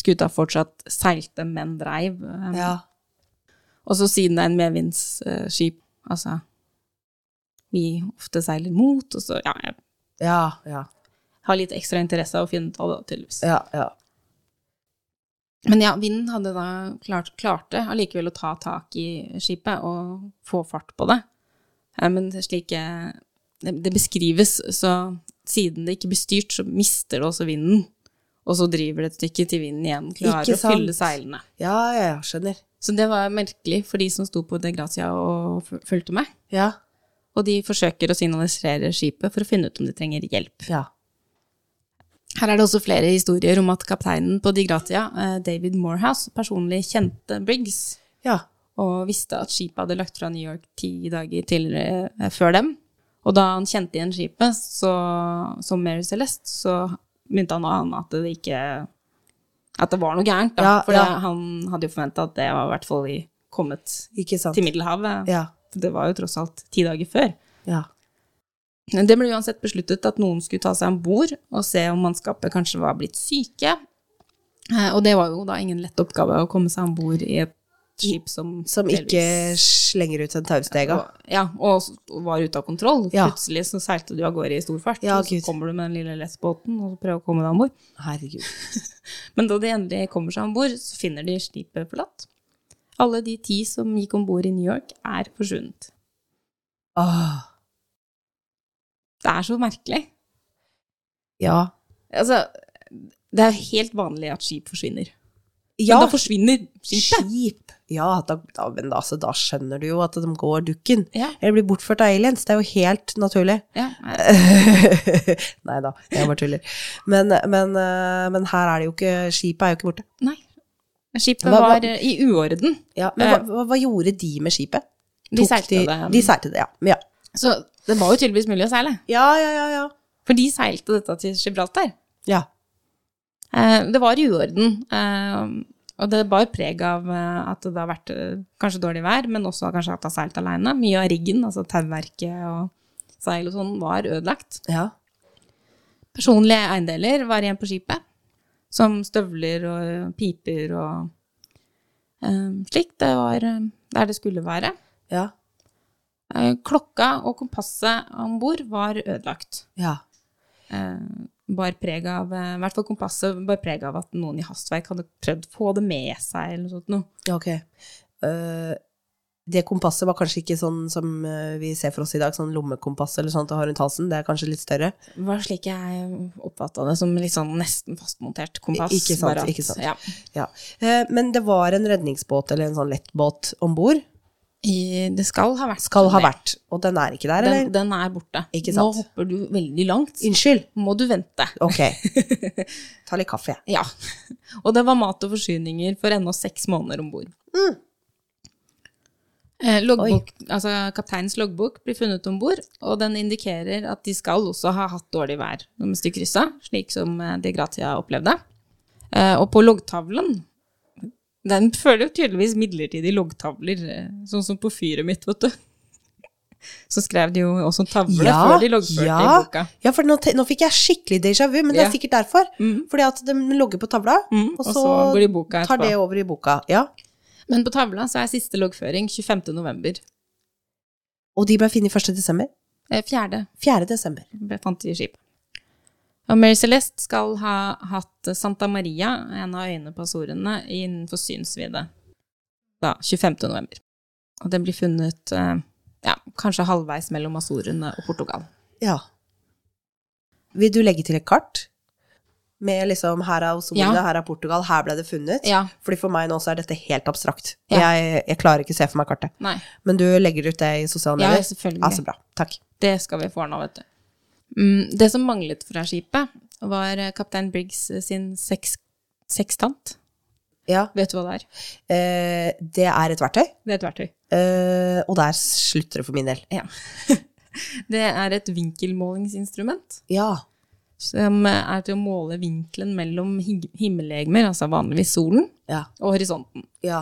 Speaker 1: skuta fortsatt seilte, men dreiv. Eh,
Speaker 2: Ja.
Speaker 1: Og så siden det er en medvindsskip, altså vi ofte seiler mot, og så ja, jeg
Speaker 2: Ja, ja.
Speaker 1: har litt ekstra interesse av å finne ut av det, tydeligvis.
Speaker 2: Ja, ja.
Speaker 1: Men ja, vinden hadde da klart, klarte allikevel å ta tak i skipet og få fart på det. Eh, Men slik eh, det det beskrives, så siden det ikke blir styrt, så mister det også vinden. Og så driver det et stykke til vinden igjen klarer
Speaker 2: Ikke
Speaker 1: å fylle
Speaker 2: sant.
Speaker 1: seilene.
Speaker 2: Ja, ja, ja, skjønner.
Speaker 1: Så det var merkelig for de som sto på De Gracia og f- fulgte med.
Speaker 2: Ja.
Speaker 1: Og de forsøker å signalisere skipet for å finne ut om de trenger hjelp.
Speaker 2: Ja.
Speaker 1: Her er det også flere historier om at kapteinen på De Gratia, eh, David Morehouse, personlig kjente Briggs
Speaker 2: ja.
Speaker 1: og visste at skipet hadde løpt fra New York ti dager tidligere eh, før dem. Og da han kjente igjen skipet så, som Mary Celeste, så begynte han å ane at det ikke At det var noe gærent, da.
Speaker 2: Ja,
Speaker 1: for det-
Speaker 2: ja.
Speaker 1: han hadde jo forventa at det var i hvert fall i- kommet
Speaker 2: Ikke sant.
Speaker 1: til Middelhavet.
Speaker 2: Ja.
Speaker 1: For det var jo tross alt ti dager før.
Speaker 2: Ja.
Speaker 1: Men Det ble uansett besluttet at noen skulle ta seg om bord og se om mannskapet kanskje var blitt syke. Eh, Og det var jo da ingen lett oppgave å komme seg om bord i et skip som
Speaker 2: Som ikke
Speaker 1: delvis-
Speaker 2: slenger ut en taustega.
Speaker 1: og- Ja, og s- var ute av kontroll.
Speaker 2: Ja.
Speaker 1: Plutselig så seilte du av gårde i stor fart,
Speaker 2: Ja,
Speaker 1: og så
Speaker 2: Gud.
Speaker 1: kommer du med den lille lesbåten og prøver å komme deg om bord.
Speaker 2: Herregud.
Speaker 1: Men da de endelig kommer seg om bord, så finner de skipet forlatt. Alle de ti som gikk om bord i New York, er forsvunnet.
Speaker 2: Åh.
Speaker 1: Det er så merkelig.
Speaker 2: Ja.
Speaker 1: Altså, det er helt vanlig at skip forsvinner.
Speaker 2: Ja,
Speaker 1: Men da forsvinner skipet.
Speaker 2: skip. Ja, da, da, men altså, da skjønner du jo at de går dukken.
Speaker 1: Ja,
Speaker 2: Eller blir bortført av aliens. Det er jo helt naturlig.
Speaker 1: ja.
Speaker 2: Nei da, jeg bare tuller. Men, men, eh, men her er det jo ikke Skipet er jo ikke borte.
Speaker 1: Nei. Skipet
Speaker 2: Hva- hva-
Speaker 1: var eh, i uorden.
Speaker 2: Ja, men hva, hva, hva gjorde de med skipet?
Speaker 1: eh, De
Speaker 2: Tok
Speaker 1: seilte det.
Speaker 2: De seilte det, ja. Men ja.
Speaker 1: Så det var jo tydeligvis mulig å seile.
Speaker 2: Ja, ja, ja, ja.
Speaker 1: For de seilte dette til Gibraltar.
Speaker 2: Ja,
Speaker 1: Eh, Det var i uorden. eh, Og det bar preg av eh, at det har vært eh, kanskje dårlig vær, men også kanskje at det har seilt alene. Mye av riggen, altså tauverket og seil og sånn, var ødelagt.
Speaker 2: ja.
Speaker 1: Personlige eiendeler var igjen på skipet, som støvler og piper og eh, slikt. Det var eh, der det skulle være.
Speaker 2: ja,
Speaker 1: Eh, Klokka og kompasset om bord var ødelagt.
Speaker 2: ja.
Speaker 1: Eh, bar preg av, eh, I hvert fall kompasset bar preg av at noen i hastverk hadde prøvd å få det med seg. eller noe sånt. Noe.
Speaker 2: Ja, Ok. Eh, det kompasset var kanskje ikke sånn som eh, vi ser for oss i dag, sånn lommekompass eller sånt du har rundt halsen. Det er kanskje litt større.
Speaker 1: Det var slik jeg oppfatta det, som litt sånn nesten fastmontert kompass.
Speaker 2: I- ikke sant,
Speaker 1: bare at-
Speaker 2: ikke sant.
Speaker 1: Ja.
Speaker 2: Ja. Eh, men det var en redningsbåt eller en sånn lettbåt om bord.
Speaker 1: I, det skal ha vært sånn
Speaker 2: Skal ha
Speaker 1: det.
Speaker 2: vært. Og den er ikke der,
Speaker 1: Den,
Speaker 2: eller?
Speaker 1: den er borte.
Speaker 2: Ikke
Speaker 1: Nå
Speaker 2: sant.
Speaker 1: hopper du veldig langt.
Speaker 2: Unnskyld.
Speaker 1: Må du vente.
Speaker 2: Ok. Ta litt kaffe, jeg.
Speaker 1: Ja. Og det var mat og forsyninger for ennå seks måneder om bord. Eh, loggbok- altså, kapteinens loggbok blir funnet om bord, og den indikerer at de skal også ha hatt dårlig vær mens de kryssa, slik som eh, De Gratia opplevde. Eh, og på loggtavlen Den føler jo tydeligvis midlertidige loggtavler, eh, sånn som på fyret mitt, vet du. Så skrev de jo også en tavle før de loggførte i
Speaker 2: ja.
Speaker 1: boka.
Speaker 2: ja, for nå, te- nå fikk jeg skikkelig déjà vu, men det
Speaker 1: Ja.
Speaker 2: er sikkert derfor.
Speaker 1: Mm.
Speaker 2: Fordi at de logger på tavla,
Speaker 1: Mm, og så går de i boka
Speaker 2: tar
Speaker 1: etterpå.
Speaker 2: det over i boka. Ja.
Speaker 1: Men på tavla så er siste loggføring 25. november.
Speaker 2: Og de ble funnet 1. desember.
Speaker 1: Eh, Fjerde
Speaker 2: 4. desember.
Speaker 1: ble fant i skipet. Og Mary Celeste skal ha hatt Santa Maria, en av øyene på Azorene, innenfor synsvidde da 25. november. Og den blir funnet eh, ja, kanskje halvveis mellom Azorene og Portugal.
Speaker 2: Ja. Vil du legge til et kart? Med liksom her er Osborne,
Speaker 1: Ja.
Speaker 2: her er Portugal, her ble det funnet.
Speaker 1: Ja.
Speaker 2: Fordi for meg nå så er dette helt abstrakt.
Speaker 1: Ja.
Speaker 2: Jeg, jeg klarer ikke å se for meg kartet.
Speaker 1: Nei.
Speaker 2: Men du legger ut det i sosiale
Speaker 1: Ja,
Speaker 2: medier?
Speaker 1: selvfølgelig.
Speaker 2: Ja, så bra. Takk.
Speaker 1: Det skal vi få ordna, vet du. Mm, det som manglet fra skipet, var eh, kaptein Briggs eh, sin seks, sekstant.
Speaker 2: Ja.
Speaker 1: Vet du hva det er?
Speaker 2: Eh, det er et verktøy,
Speaker 1: Det er et verktøy.
Speaker 2: eh, og der slutter det for min del.
Speaker 1: Ja. det er et vinkelmålingsinstrument.
Speaker 2: Ja.
Speaker 1: som er til å måle vinkelen mellom hig- himmellegemer, altså vanligvis solen,
Speaker 2: Ja.
Speaker 1: og horisonten.
Speaker 2: Ja.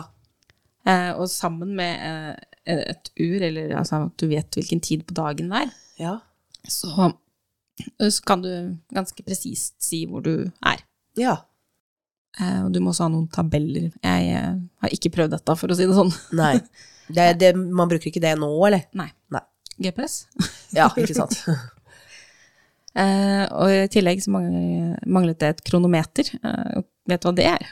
Speaker 1: Eh, og sammen med eh, et ur, eller altså at du vet hvilken tid på dagen det er,
Speaker 2: Ja.
Speaker 1: så, eh, så kan du ganske presist si hvor du er.
Speaker 2: ja.
Speaker 1: Eh, og du må også ha noen tabeller. Jeg eh, har ikke prøvd dette, for å si det sånn.
Speaker 2: Nei. Det, det, man bruker ikke det nå, eller?
Speaker 1: Nei.
Speaker 2: Nei.
Speaker 1: GPS.
Speaker 2: Ja, ikke sant.
Speaker 1: Eh, og i tillegg så manglet, manglet det et kronometer. Eh, og vet du hva det er?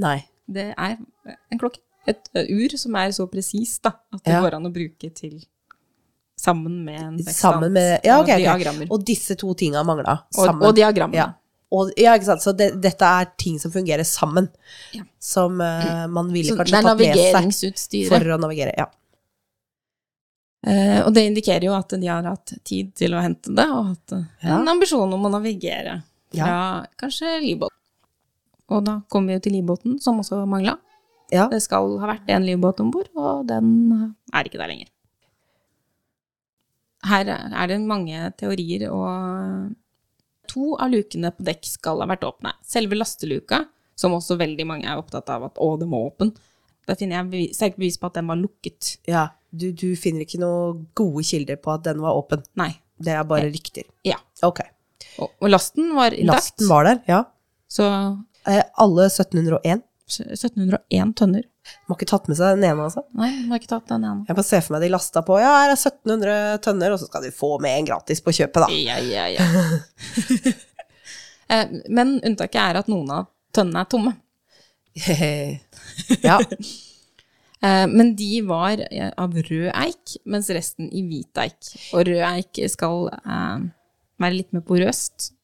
Speaker 2: Nei.
Speaker 1: Det er en klokke. Et ø, ur som er så presist da, at det
Speaker 2: Ja.
Speaker 1: går an å bruke til sammen med en sekstans
Speaker 2: Sammen med Ja, ok.
Speaker 1: og
Speaker 2: ok.
Speaker 1: diagrammer.
Speaker 2: Og disse to tinga mangla.
Speaker 1: Og,
Speaker 2: Sammen.
Speaker 1: og diagrammer.
Speaker 2: ja. Og, ja, ikke sant. Så det, dette er ting som fungerer sammen.
Speaker 1: Ja. Mm.
Speaker 2: Som eh, man ville
Speaker 1: Så det
Speaker 2: kanskje
Speaker 1: er
Speaker 2: tatt med seg
Speaker 1: navigeringsutstyret.
Speaker 2: for å navigere. Ja.
Speaker 1: Eh, og det indikerer jo at de har hatt tid til å hente det, og hatt eh,
Speaker 2: Ja.
Speaker 1: en ambisjon om å navigere fra kanskje livbåten. Og da kommer vi jo til livbåten, som også mangla.
Speaker 2: Ja.
Speaker 1: Det skal ha vært en livbåt om bord, og den er ikke der lenger. Her er det mange teorier, og to av lukene på dekk skal ha vært åpne. Selve lasteluka, som også veldig mange er opptatt av at å, den må åpen, da finner jeg bevi- sterkt bevis på at den var lukket.
Speaker 2: ja. Du, du finner ikke noen gode kilder på at den var åpen.
Speaker 1: Nei.
Speaker 2: Det er bare rykter.
Speaker 1: Ja.
Speaker 2: Ok.
Speaker 1: Og, og lasten var intakt.
Speaker 2: Lasten var der, ja.
Speaker 1: Så
Speaker 2: Eh, alle 1701.
Speaker 1: 1701 tønner.
Speaker 2: Må ikke tatt med seg den ene, altså.
Speaker 1: Nei, hun har ikke tatt den ene.
Speaker 2: Jeg bare ser for meg de lasta på. Ja, her er 1700 tønner, og så skal de få med en gratis på kjøpet, da.
Speaker 1: Ja, ja, ja. Eh, Men unntaket er at noen av tønnene er tomme.
Speaker 2: ja.
Speaker 1: Eh, Men de var eh, av rød eik, mens resten i hvit eik. Og rød eik skal eh, være litt mer porøst,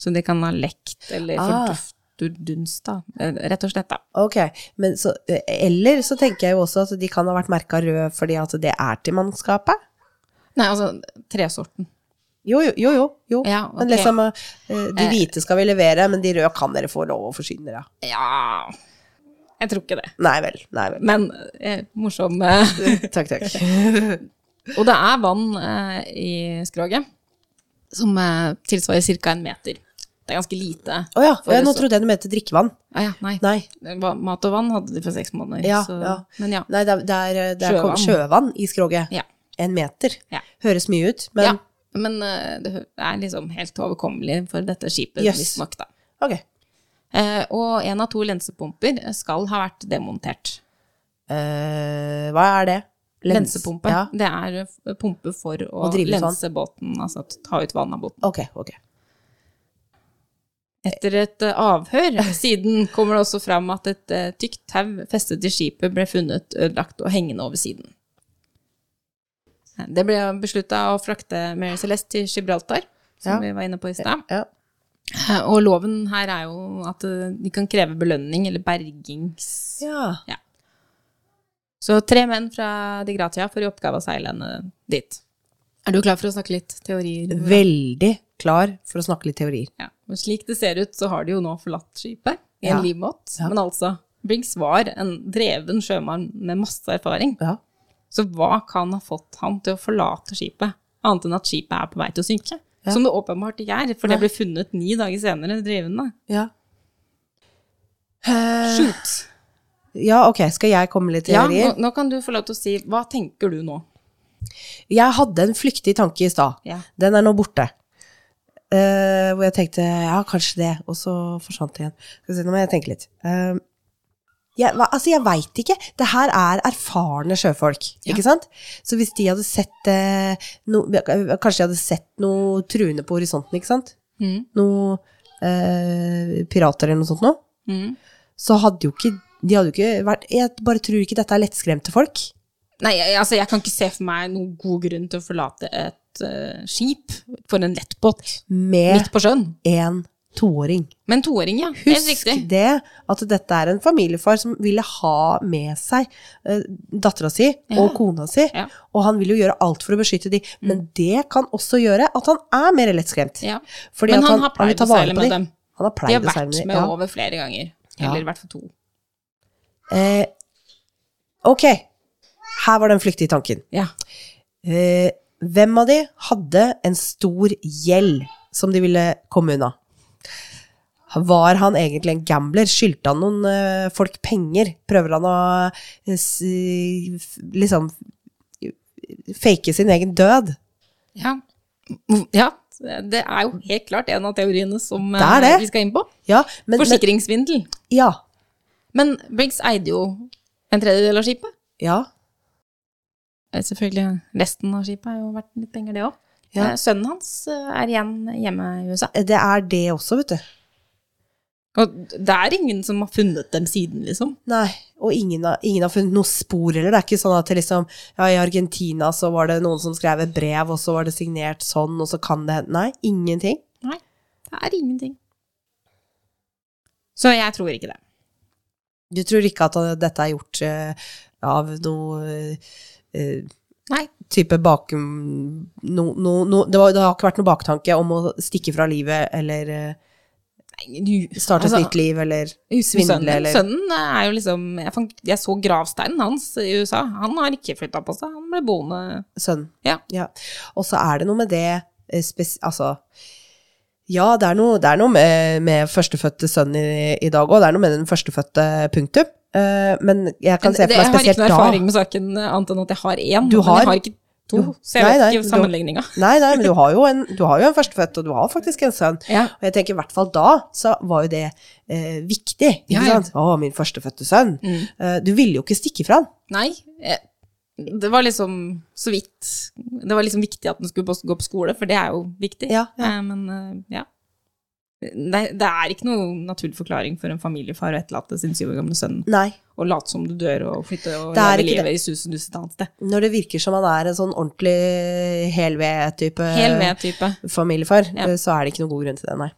Speaker 1: så det kan ha lekt eller
Speaker 2: Ah.
Speaker 1: fordufterduns, da. Eh, Rett og slett, da.
Speaker 2: Ok. Men så, eh, eller så tenker jeg jo også at de kan ha vært merka røde fordi at det er til mannskapet.
Speaker 1: Nei, altså tresorten.
Speaker 2: Jo, jo, jo. jo, jo.
Speaker 1: Ja, ok.
Speaker 2: Men liksom, eh, de hvite skal vi levere, men de røde kan dere få lov å forsyne dere av.
Speaker 1: Ja Jeg tror ikke det.
Speaker 2: Nei vel, nei vel.
Speaker 1: Men eh, morsom. eh,
Speaker 2: Takk, takk.
Speaker 1: Og det er vann eh, i skroget som eh, tilsvarer ca. en meter. Det er ganske lite.
Speaker 2: Å ja,
Speaker 1: For
Speaker 2: ja, nå
Speaker 1: det så-
Speaker 2: trodde jeg du mente drikkevann.
Speaker 1: Ah, ja, nei.
Speaker 2: Nei.
Speaker 1: Va- Mat og vann hadde de for seks måneder.
Speaker 2: Ja,
Speaker 1: så,
Speaker 2: ja.
Speaker 1: Men ja.
Speaker 2: Nei, det er, det er, det er sjøvann.
Speaker 1: Sjøvann.
Speaker 2: sjøvann i skroget.
Speaker 1: Ja.
Speaker 2: En meter.
Speaker 1: Ja.
Speaker 2: Høres mye ut, men
Speaker 1: ja. Men eh, det hø- er liksom helt overkommelig for dette skipet,
Speaker 2: Jøss.
Speaker 1: visstnok, da.
Speaker 2: ok.
Speaker 1: Eh, og en av to lensepumper skal ha vært demontert.
Speaker 2: Eh, hva er det? Lens-
Speaker 1: Lensepumpe.
Speaker 2: Ja.
Speaker 1: Det er eh, pumpe for å
Speaker 2: Å drive sånn. ut vann.
Speaker 1: lense båten, altså t- ta ut vann av båten.
Speaker 2: Ok, ok.
Speaker 1: Etter et eh, avhør siden kommer det også fram at et eh, tykt tau festet til skipet ble funnet ødelagt og hengende over siden. Det ble beslutta å frakte Mary Celeste til Gibraltar, som
Speaker 2: Ja.
Speaker 1: vi var inne på i stad.
Speaker 2: Ja.
Speaker 1: Eh, Og loven her er jo at eh, de kan kreve belønning eller bergings...
Speaker 2: Ja.
Speaker 1: Så tre menn fra De Gratia får i oppgave å seile henne dit. Er du klar for å snakke litt teorier?
Speaker 2: Veldig klar for å snakke litt teorier.
Speaker 1: Ja, og slik det ser ut, så har de jo nå forlatt skipet i
Speaker 2: Ja.
Speaker 1: en livbåt.
Speaker 2: Ja.
Speaker 1: Men altså, Briggs var en dreven sjømann med masse erfaring.
Speaker 2: Ja.
Speaker 1: Så hva kan ha fått han til å forlate skipet, annet enn at skipet er på vei til å synke? Som det åpenbart ikke er, for det ble funnet ni dager senere drivende.
Speaker 2: Ja. Eh,
Speaker 1: Shoot!
Speaker 2: ja, ok. Skal jeg komme med litt
Speaker 1: Ja,
Speaker 2: teorier?
Speaker 1: nå, nå kan du få lov til å si, hva tenker du nå?
Speaker 2: Jeg hadde en flyktig tanke i stad.
Speaker 1: Ja.
Speaker 2: Den er nå borte. Eh, hvor jeg tenkte ja, kanskje det, og så forsvant det igjen. Skal vi se, nå må jeg tenke litt. Eh, jeg, hva- altså, jeg veit ikke. Det her er erfarne sjøfolk,
Speaker 1: Ja.
Speaker 2: ikke sant? Så hvis de hadde sett eh, no, Kanskje de hadde sett noe truende på horisonten, ikke sant?
Speaker 1: Mm.
Speaker 2: Noe eh, pirater eller noe sånt noe.
Speaker 1: Mm.
Speaker 2: Så hadde jo ikke De hadde jo ikke vært Jeg bare tror ikke dette er lettskremte folk.
Speaker 1: Nei, jeg, altså, jeg kan ikke se for meg noen god grunn til å forlate et eh, skip for en lettbåt
Speaker 2: Med
Speaker 1: midt på sjøen.
Speaker 2: en toåring.
Speaker 1: Men toåring, ja. Helt
Speaker 2: Husk
Speaker 1: riktig.
Speaker 2: det, at dette er en familiefar som ville ha med seg uh, dattera si og kona si,
Speaker 1: Ja. Mm.
Speaker 2: og han vil jo gjøre alt for å beskytte de, men det kan også gjøre at han er mer lettskremt.
Speaker 1: Ja.
Speaker 2: Fordi
Speaker 1: Men
Speaker 2: at
Speaker 1: han har
Speaker 2: vil
Speaker 1: pleid
Speaker 2: ta
Speaker 1: å
Speaker 2: vare
Speaker 1: seile
Speaker 2: på
Speaker 1: med
Speaker 2: de.
Speaker 1: dem.
Speaker 2: Han har
Speaker 1: De har
Speaker 2: pleid å seile
Speaker 1: vært
Speaker 2: med
Speaker 1: med
Speaker 2: dem.
Speaker 1: over flere ganger.
Speaker 2: Ja.
Speaker 1: Eller i hvert fall to.
Speaker 2: Ja. Eh, ok, her var den flyktige tanken.
Speaker 1: Ja.
Speaker 2: Eh, hvem av de hadde en stor gjeld som de ville komme unna? Var han egentlig en gambler? Skyldte han noen eh, folk penger? Prøver han å eh, s- f- liksom fake sin egen død?
Speaker 1: Ja. ja. Det er jo helt klart en av teoriene som
Speaker 2: Det er det.
Speaker 1: eh, vi skal inn på.
Speaker 2: Ja, men, men
Speaker 1: Forsikringssvindel.
Speaker 2: ja,
Speaker 1: Men Briggs eide jo en tredjedel av skipet.
Speaker 2: ja,
Speaker 1: Eh, Selvfølgelig, Resten av skipet har jo vært litt penger, det òg.
Speaker 2: Ja.
Speaker 1: eh, Sønnen hans eh, er igjen hjemme i USA.
Speaker 2: det er det også, vet du.
Speaker 1: Og det er ingen som har funnet dem siden, liksom.
Speaker 2: Nei, og ingen har, ingen har funnet noe spor heller. Det er ikke sånn at det liksom, ja, i Argentina så var det noen som skrev et brev, og så var det signert sånn, og så kan det hende Nei, ingenting.
Speaker 1: Nei, det er ingenting. Så jeg tror ikke det.
Speaker 2: Du tror ikke at eh, dette er gjort eh, av noe eh,
Speaker 1: Nei.
Speaker 2: type bakum... No, no, no, det, var, det har ikke vært noen baktanke om å stikke fra livet eller eh,
Speaker 1: Nei, du-
Speaker 2: starte
Speaker 1: altså,
Speaker 2: et nytt liv eller
Speaker 1: husker du
Speaker 2: svindle,
Speaker 1: sønnen?
Speaker 2: eller-
Speaker 1: Sønnen er jo liksom jeg, fant, jeg så gravsteinen hans i USA. Han har ikke flytta på seg. Han ble boende
Speaker 2: sønn.
Speaker 1: Ja.
Speaker 2: Og så er det noe med det eh, spes Altså, ja, det er noe, det er noe med, med førstefødte sønn i, i dag òg. Det er noe med den førstefødte, punktum. Eh, men jeg kan se
Speaker 1: Det- Jeg
Speaker 2: for meg
Speaker 1: har ikke
Speaker 2: spesielt
Speaker 1: noe
Speaker 2: da.
Speaker 1: erfaring med saken eh, annet enn at jeg har én.
Speaker 2: Du
Speaker 1: Men
Speaker 2: har?
Speaker 1: jeg har ikke to,
Speaker 2: Jo.
Speaker 1: så jeg
Speaker 2: Nei, nei,
Speaker 1: vet
Speaker 2: men
Speaker 1: ikke
Speaker 2: du-
Speaker 1: sammenligninga.
Speaker 2: Nei, nei, men du har jo en, du har jo en førstefødt, og du har faktisk en sønn.
Speaker 1: Ja.
Speaker 2: Og jeg tenker i hvert fall da, så var jo det eh, viktig. Ikke
Speaker 1: Ja, ja.
Speaker 2: sant? Å, min førstefødte sønn.
Speaker 1: Mm.
Speaker 2: Eh, du ville jo ikke stikke fra han.
Speaker 1: Nei. eh, Det var liksom så vidt Det var liksom viktig at den skulle på- gå på skole, for det er jo viktig.
Speaker 2: Ja, ja.
Speaker 1: Eh, Men eh, ja. Det, det er ikke noen naturlig forklaring for en familiefar å etterlate sin syv år gamle sønn
Speaker 2: Nei.
Speaker 1: og late som du dør og flytte og
Speaker 2: Det er
Speaker 1: leve
Speaker 2: ikke
Speaker 1: livet i sus og dus et annet sted.
Speaker 2: Når det virker som han er en sånn ordentlig hel ved-type
Speaker 1: Hel ved-type.
Speaker 2: familiefar,
Speaker 1: Ja.
Speaker 2: eh, så er det ikke noen god grunn til det, nei.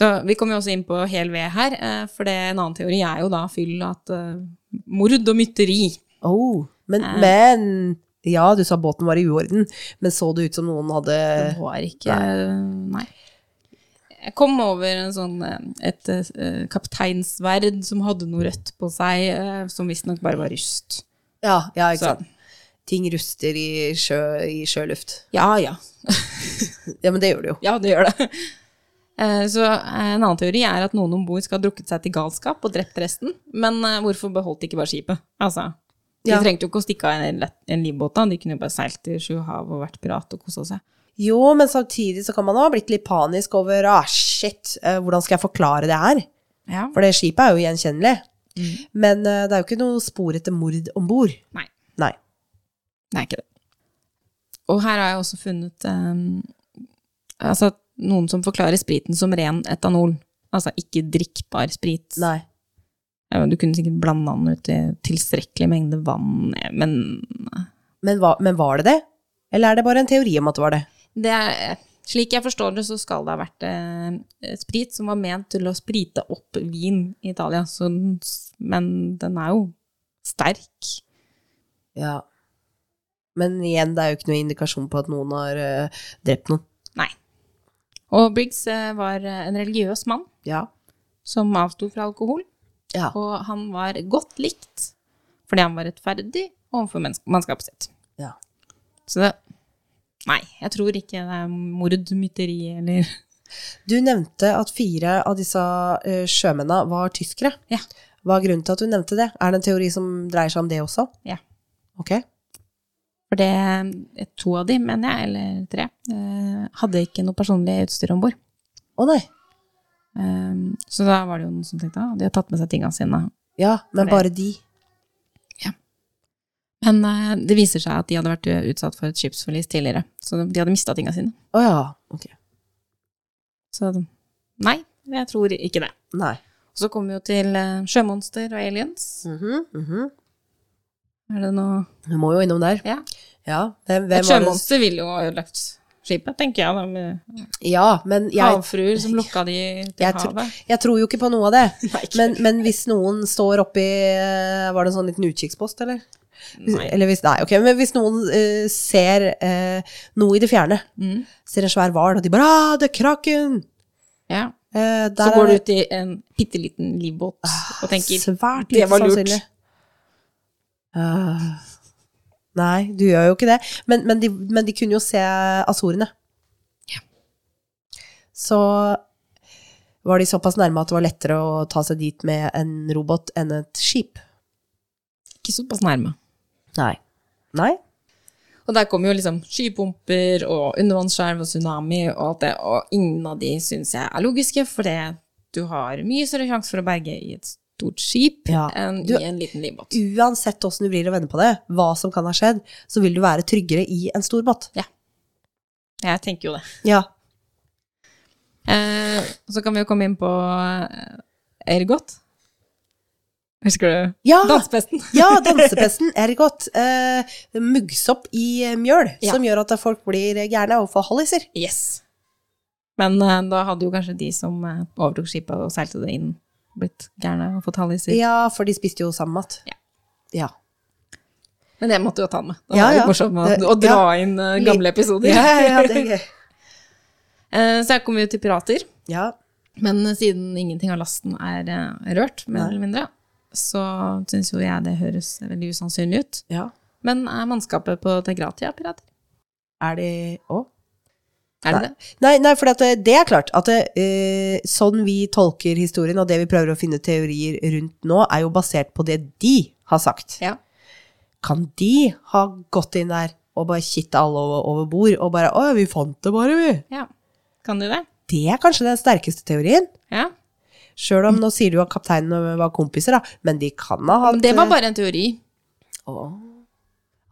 Speaker 1: Så vi kommer jo også inn på hel ved her, eh, for det en annen teori er jo da fyll at eh, mord og mytteri
Speaker 2: Oh, men,
Speaker 1: Eh.
Speaker 2: men Ja, du sa båten var i uorden, men så det ut som noen hadde
Speaker 1: Det var ikke Eh, Nei. Jeg kom over en sånn, eh, et eh, kapteinsverd som hadde noe rødt på seg, eh, som visstnok bare var rust.
Speaker 2: Ja, ja ikke
Speaker 1: Så-
Speaker 2: sant. Ting ruster i, sjø, i sjøluft.
Speaker 1: Ja, ja.
Speaker 2: Ja, men det gjør det jo.
Speaker 1: Ja, det gjør det. Eh, Så eh, En annen teori er at noen om bord skal ha drukket seg til galskap og drept resten. Men eh, hvorfor beholdt de ikke bare skipet? Altså, De
Speaker 2: Ja.
Speaker 1: trengte jo ikke å stikke av en, lett- en livbåt. da. De kunne jo bare seilt i sju hav og vært pirat og kosa seg.
Speaker 2: Jo, men samtidig så kan man ha blitt litt panisk over ah, shit, eh, hvordan skal jeg forklare det her?
Speaker 1: Ja.
Speaker 2: For det skipet er jo gjenkjennelig. Men eh, det er jo ikke noe spor etter mord om bord.
Speaker 1: Mm. Nei.
Speaker 2: Nei.
Speaker 1: Det er ikke det. Og her har jeg også funnet eh, altså, noen som forklarer spriten som ren etanol. Altså ikke drikkbar sprit.
Speaker 2: Nei.
Speaker 1: Ja, Du kunne sikkert blanda den ut i tilstrekkelig mengde vann, eh, men
Speaker 2: Men, hva, men var det det? Eller er det bare en teori om at det var det?
Speaker 1: det er, slik jeg forstår det, så skal det ha vært eh, sprit som var ment til å sprite opp vin i Italia. Så, den s- men den er jo sterk.
Speaker 2: Ja. Men igjen, det er jo ikke noe indikasjon på at noen har eh, drept noen.
Speaker 1: Nei. Og Briggs eh, var eh, en religiøs mann
Speaker 2: Ja.
Speaker 1: som avsto fra alkohol.
Speaker 2: Ja.
Speaker 1: Og han var godt likt fordi han var rettferdig overfor mennesk- mannskapet sitt.
Speaker 2: Ja.
Speaker 1: Så det Nei, jeg tror ikke det er mord, mytteri eller
Speaker 2: Du nevnte at fire av disse eh, sjømennene var tyskere.
Speaker 1: Ja.
Speaker 2: Hva er grunnen til at du nevnte det? Er det en teori som dreier seg om det også?
Speaker 1: Ja.
Speaker 2: Ok.
Speaker 1: For det eh, To av de, mener jeg, eller tre, eh, hadde ikke noe personlig utstyr om bord.
Speaker 2: Å nei.
Speaker 1: Eh, Så da var det jo noen som tenkte at de har tatt med seg tinga sine.
Speaker 2: Ja,
Speaker 1: For
Speaker 2: men
Speaker 1: det-
Speaker 2: bare de.
Speaker 1: Men eh, det viser seg at de hadde vært utsatt for et skipsforlis tidligere. Så de hadde mista tinga sine.
Speaker 2: Å ja. Ok.
Speaker 1: Så nei, jeg tror ikke det.
Speaker 2: Nei.
Speaker 1: Så kommer vi jo til eh, sjømonster og aliens.
Speaker 2: Mhm, mhm.
Speaker 1: Er det noe
Speaker 2: Du må jo innom der.
Speaker 1: Ja.
Speaker 2: Ja, hvem,
Speaker 1: Et
Speaker 2: hvem var det-
Speaker 1: sjømonster ville jo ha ødelagt skipet, tenker jeg. da, Med
Speaker 2: Ja, men jeg,
Speaker 1: havfruer som lukka de til
Speaker 2: Jeg tror-
Speaker 1: havet.
Speaker 2: jeg tror jo ikke på noe av det.
Speaker 1: Nei, ikke-
Speaker 2: Men, men hvis noen står oppi eh, Var det en sånn liten utkikkspost, eller?
Speaker 1: Nei.
Speaker 2: Eller hvis, nei, ok, men hvis noen eh, ser eh, noe i det fjerne,
Speaker 1: Mm.
Speaker 2: ser en svær hval, og de bare ah, 'Det er kraken!'
Speaker 1: Ja.
Speaker 2: Eh, der
Speaker 1: Så går
Speaker 2: er Ah,
Speaker 1: du ut i en bitte liten livbåt og tenker
Speaker 2: Svært
Speaker 1: Det
Speaker 2: lite
Speaker 1: var lurt.
Speaker 2: sannsynlig. Eh, nei, du gjør jo ikke det. Men, men, de, men de kunne jo se Azorene.
Speaker 1: Ja.
Speaker 2: Så var de såpass nærme at det var lettere å ta seg dit med en robot enn et skip.
Speaker 1: Ikke såpass nærme.
Speaker 2: Nei. Nei?
Speaker 1: Og der kommer jo liksom skypumper og undervannsskjelv og tsunami og alt det, og ingen av de syns jeg er logiske, fordi du har mye større sjanse for å berge i et stort skip
Speaker 2: Ja.
Speaker 1: enn
Speaker 2: Du-
Speaker 1: i en liten livbåt.
Speaker 2: Uansett åssen du vrir og vender på det, hva som kan ha skjedd, så vil du være tryggere i en stor båt.
Speaker 1: Jeg tenker jo det.
Speaker 2: Ja.
Speaker 1: Eh, så kan vi jo komme inn på eh, Ergot. Husker du?
Speaker 2: Ja!
Speaker 1: Dansepesten.
Speaker 2: ja, dansepesten er godt. Eh, muggsopp i eh, mjøl,
Speaker 1: Ja.
Speaker 2: som gjør at folk blir gærne og får halliser.
Speaker 1: Yes. Men eh, da hadde jo kanskje de som eh, overtok skipet og seilte det inn, blitt gærne og fått halliser.
Speaker 2: Ja, for de spiste jo sammen mat.
Speaker 1: Ja.
Speaker 2: Ja.
Speaker 1: Men det måtte jo ta med. Det
Speaker 2: Ja,
Speaker 1: var litt
Speaker 2: ja.
Speaker 1: morsomt å,
Speaker 2: Det-
Speaker 1: å dra
Speaker 2: ja.
Speaker 1: inn eh, gamle episoder.
Speaker 2: Ja, ja, ja, det er gøy.
Speaker 1: Eh, så her kommer vi jo til pirater.
Speaker 2: Ja.
Speaker 1: Men eh, siden ingenting av lasten er eh, rørt, mer
Speaker 2: Nei.
Speaker 1: eller mindre, så syns jo jeg det høres veldig usannsynlig ut.
Speaker 2: ja.
Speaker 1: Men er mannskapet på Tegratia pirater?
Speaker 2: Er de Å?
Speaker 1: Er det det?
Speaker 2: Nei, nei for det, det er klart at eh, sånn vi tolker historien, og det vi prøver å finne teorier rundt nå, er jo basert på det de har sagt.
Speaker 1: Ja.
Speaker 2: Kan de ha gått inn der og bare kitta alle over, over bord og bare 'Å ja, vi fant det bare, vi'.
Speaker 1: ja. Kan du det?
Speaker 2: Det er kanskje den sterkeste teorien.
Speaker 1: Ja.
Speaker 2: Sjøl om nå sier du at kapteinen var kompiser, da, men de kan ha hatt eh,
Speaker 1: Men det var bare en teori.
Speaker 2: Å,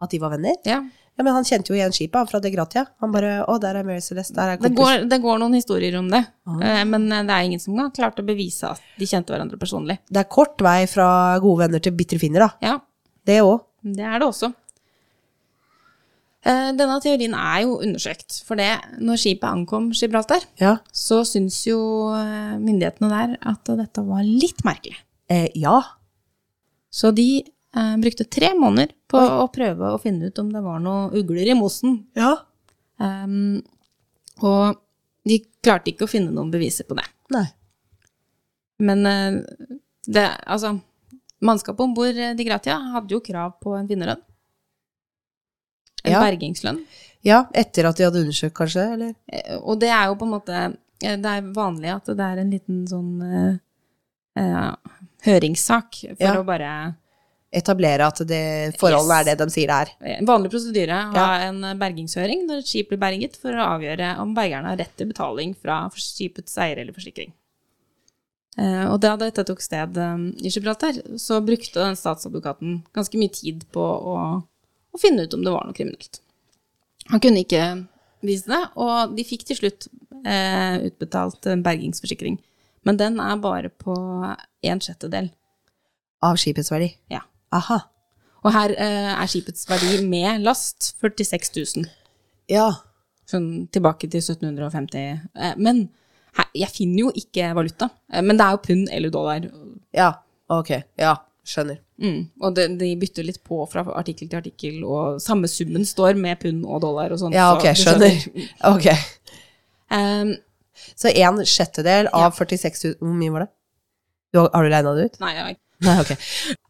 Speaker 2: At de var venner?
Speaker 1: Ja.
Speaker 2: Ja, men han kjente jo igjen skipet, han fra De Gratia. Han bare 'Å, der er Mary Celeste, der er Ah.
Speaker 1: Det
Speaker 2: kompisen'.
Speaker 1: går, det går noen historier om det, eh, men det er ingen som har klart å bevise at de kjente hverandre personlig.
Speaker 2: Det er kort vei fra gode venner til bitre finner, da.
Speaker 1: Ja,
Speaker 2: Det òg.
Speaker 1: det er det også. Eh, Denne teorien er jo undersøkt, for det, når skipet ankom Gibraltar,
Speaker 2: Ja.
Speaker 1: så syns jo eh, myndighetene der at dette var litt merkelig.
Speaker 2: Eh, ja.
Speaker 1: Så de eh, brukte tre måneder på å prøve å finne ut om det var noen ugler i mosen.
Speaker 2: Ja.
Speaker 1: Ehm, og de klarte ikke å finne noen beviser på det.
Speaker 2: Nei.
Speaker 1: Men eh, det, altså, mannskapet om bord eh, De Gratia hadde jo krav på en vinnerlønn. En
Speaker 2: Ja.
Speaker 1: bergingslønn.
Speaker 2: Ja, etter at de hadde undersøkt, kanskje? Eller?
Speaker 1: Eh, Og det er jo på en måte eh, Det er vanlig at det er en liten sånn eh, eh, høringssak for
Speaker 2: Ja.
Speaker 1: å bare
Speaker 2: Etablere at det, forholdene
Speaker 1: Yes.
Speaker 2: er det de sier det er.
Speaker 1: eh, Vanlig prosedyre å ha en eh, bergingshøring når et skip blir berget, for å avgjøre om bergerne har rett til betaling fra skipets eier eller forsikring. Eh, Og da dette tok sted eh, i Gibraltar, så brukte den statsadvokaten ganske mye tid på å, å finne ut om det var noe kriminelt. Han kunne ikke vise det, og de fikk til slutt eh, utbetalt en bergingsforsikring. Men den er bare på en sjettedel.
Speaker 2: Av skipets verdi.
Speaker 1: Ja.
Speaker 2: Aha.
Speaker 1: Og her eh, er skipets verdi med last 46 000.
Speaker 2: Ja.
Speaker 1: Sånn tilbake til 1750. Eh, Men her, jeg finner jo ikke valuta. Eh, Men det er jo pund eller dollar.
Speaker 2: Ja. Ok. Ja. Skjønner.
Speaker 1: Mm. Og de, de bytter litt på fra artikkel til artikkel, og samme summen står med pund og dollar og sånn.
Speaker 2: Ja,
Speaker 1: så
Speaker 2: ok.
Speaker 1: du
Speaker 2: Skjønner. Ok.
Speaker 1: Eh,
Speaker 2: Så en sjettedel av 46 000 Hvor mye var det? Du, har- har du regna det ut?
Speaker 1: nei, jeg,
Speaker 2: Nei, ok.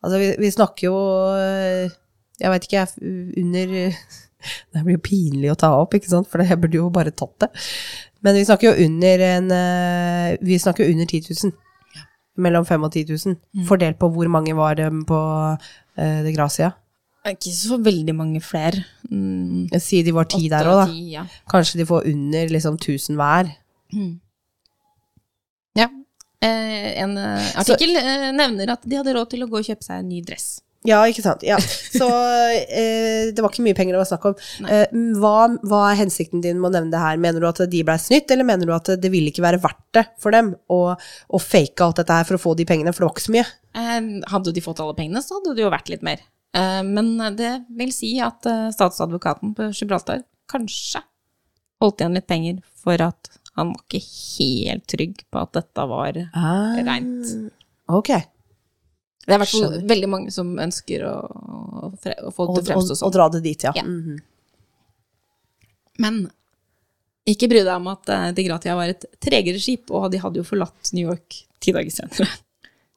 Speaker 2: Altså, vi, vi snakker jo øh, Jeg veit ikke, jeg f- under øh, Det blir jo pinlig å ta opp, ikke sant, for jeg burde jo bare tatt det. Men vi snakker jo under en øh, Vi snakker jo under 10 000. Mellom 5000 og 10 000.
Speaker 1: Mm.
Speaker 2: Fordelt på hvor mange var dem på øh, De Gracia.
Speaker 1: er ikke så veldig mange flere. Mm,
Speaker 2: Si de var ti
Speaker 1: åtte
Speaker 2: der
Speaker 1: og
Speaker 2: òg, da.
Speaker 1: ti, Ja.
Speaker 2: Kanskje de får under liksom 1000 hver.
Speaker 1: Mm. ja. Eh, en eh, artikkel eh, nevner at de hadde råd til å gå og kjøpe seg en ny dress.
Speaker 2: Ja, ikke sant. Ja. Så eh, det var ikke mye penger det var snakk om. Eh, hva, hva er hensikten din med å nevne det her? Mener du at de blei snytt, eller mener du at det ville ikke være verdt det for dem å, å fake alt dette her for å få de pengene, for det var ikke så mye?
Speaker 1: Eh, Hadde de fått alle pengene, så hadde det jo vært litt mer. Eh, Men det vil si at eh, statsadvokaten på Gibraltar kanskje holdt igjen litt penger for at han var ikke helt trygg på at dette var Ah. rent.
Speaker 2: Ok.
Speaker 1: Det er i hvert fall
Speaker 2: skjønner.
Speaker 1: veldig mange som ønsker å, å fre- å få
Speaker 2: Og,
Speaker 1: det til å
Speaker 2: og,
Speaker 1: fremstå
Speaker 2: og
Speaker 1: sånn.
Speaker 2: dra det dit, ja.
Speaker 1: Ja.
Speaker 2: Mhm.
Speaker 1: Men ikke bry deg om at eh, De Gratia var et tregere skip, og de hadde jo forlatt New York ti dager senere.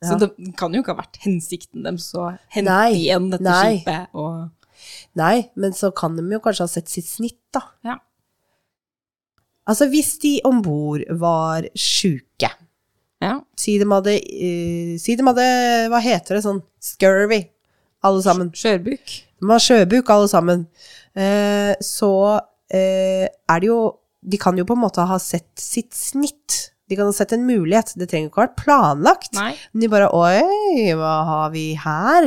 Speaker 1: Så
Speaker 2: Ja.
Speaker 1: det kan jo ikke ha vært hensikten deres å hente
Speaker 2: Nei,
Speaker 1: igjen dette
Speaker 2: nei.
Speaker 1: skipet og
Speaker 2: Nei, men så kan de jo kanskje ha sett sitt snitt, da.
Speaker 1: Ja.
Speaker 2: Altså, hvis de om bord var sjuke
Speaker 1: Ja.
Speaker 2: Si de hadde, eh, si de hadde Hva heter det sånn? Scurvy, alle sammen.
Speaker 1: Skjørbuk.
Speaker 2: De har sjøbuk, alle sammen. Eh, så eh, er det jo De kan jo på en måte ha sett sitt snitt De kan ha sett en mulighet, det trenger ikke å ha vært planlagt.
Speaker 1: Nei.
Speaker 2: Men de bare Oi, hva har vi her?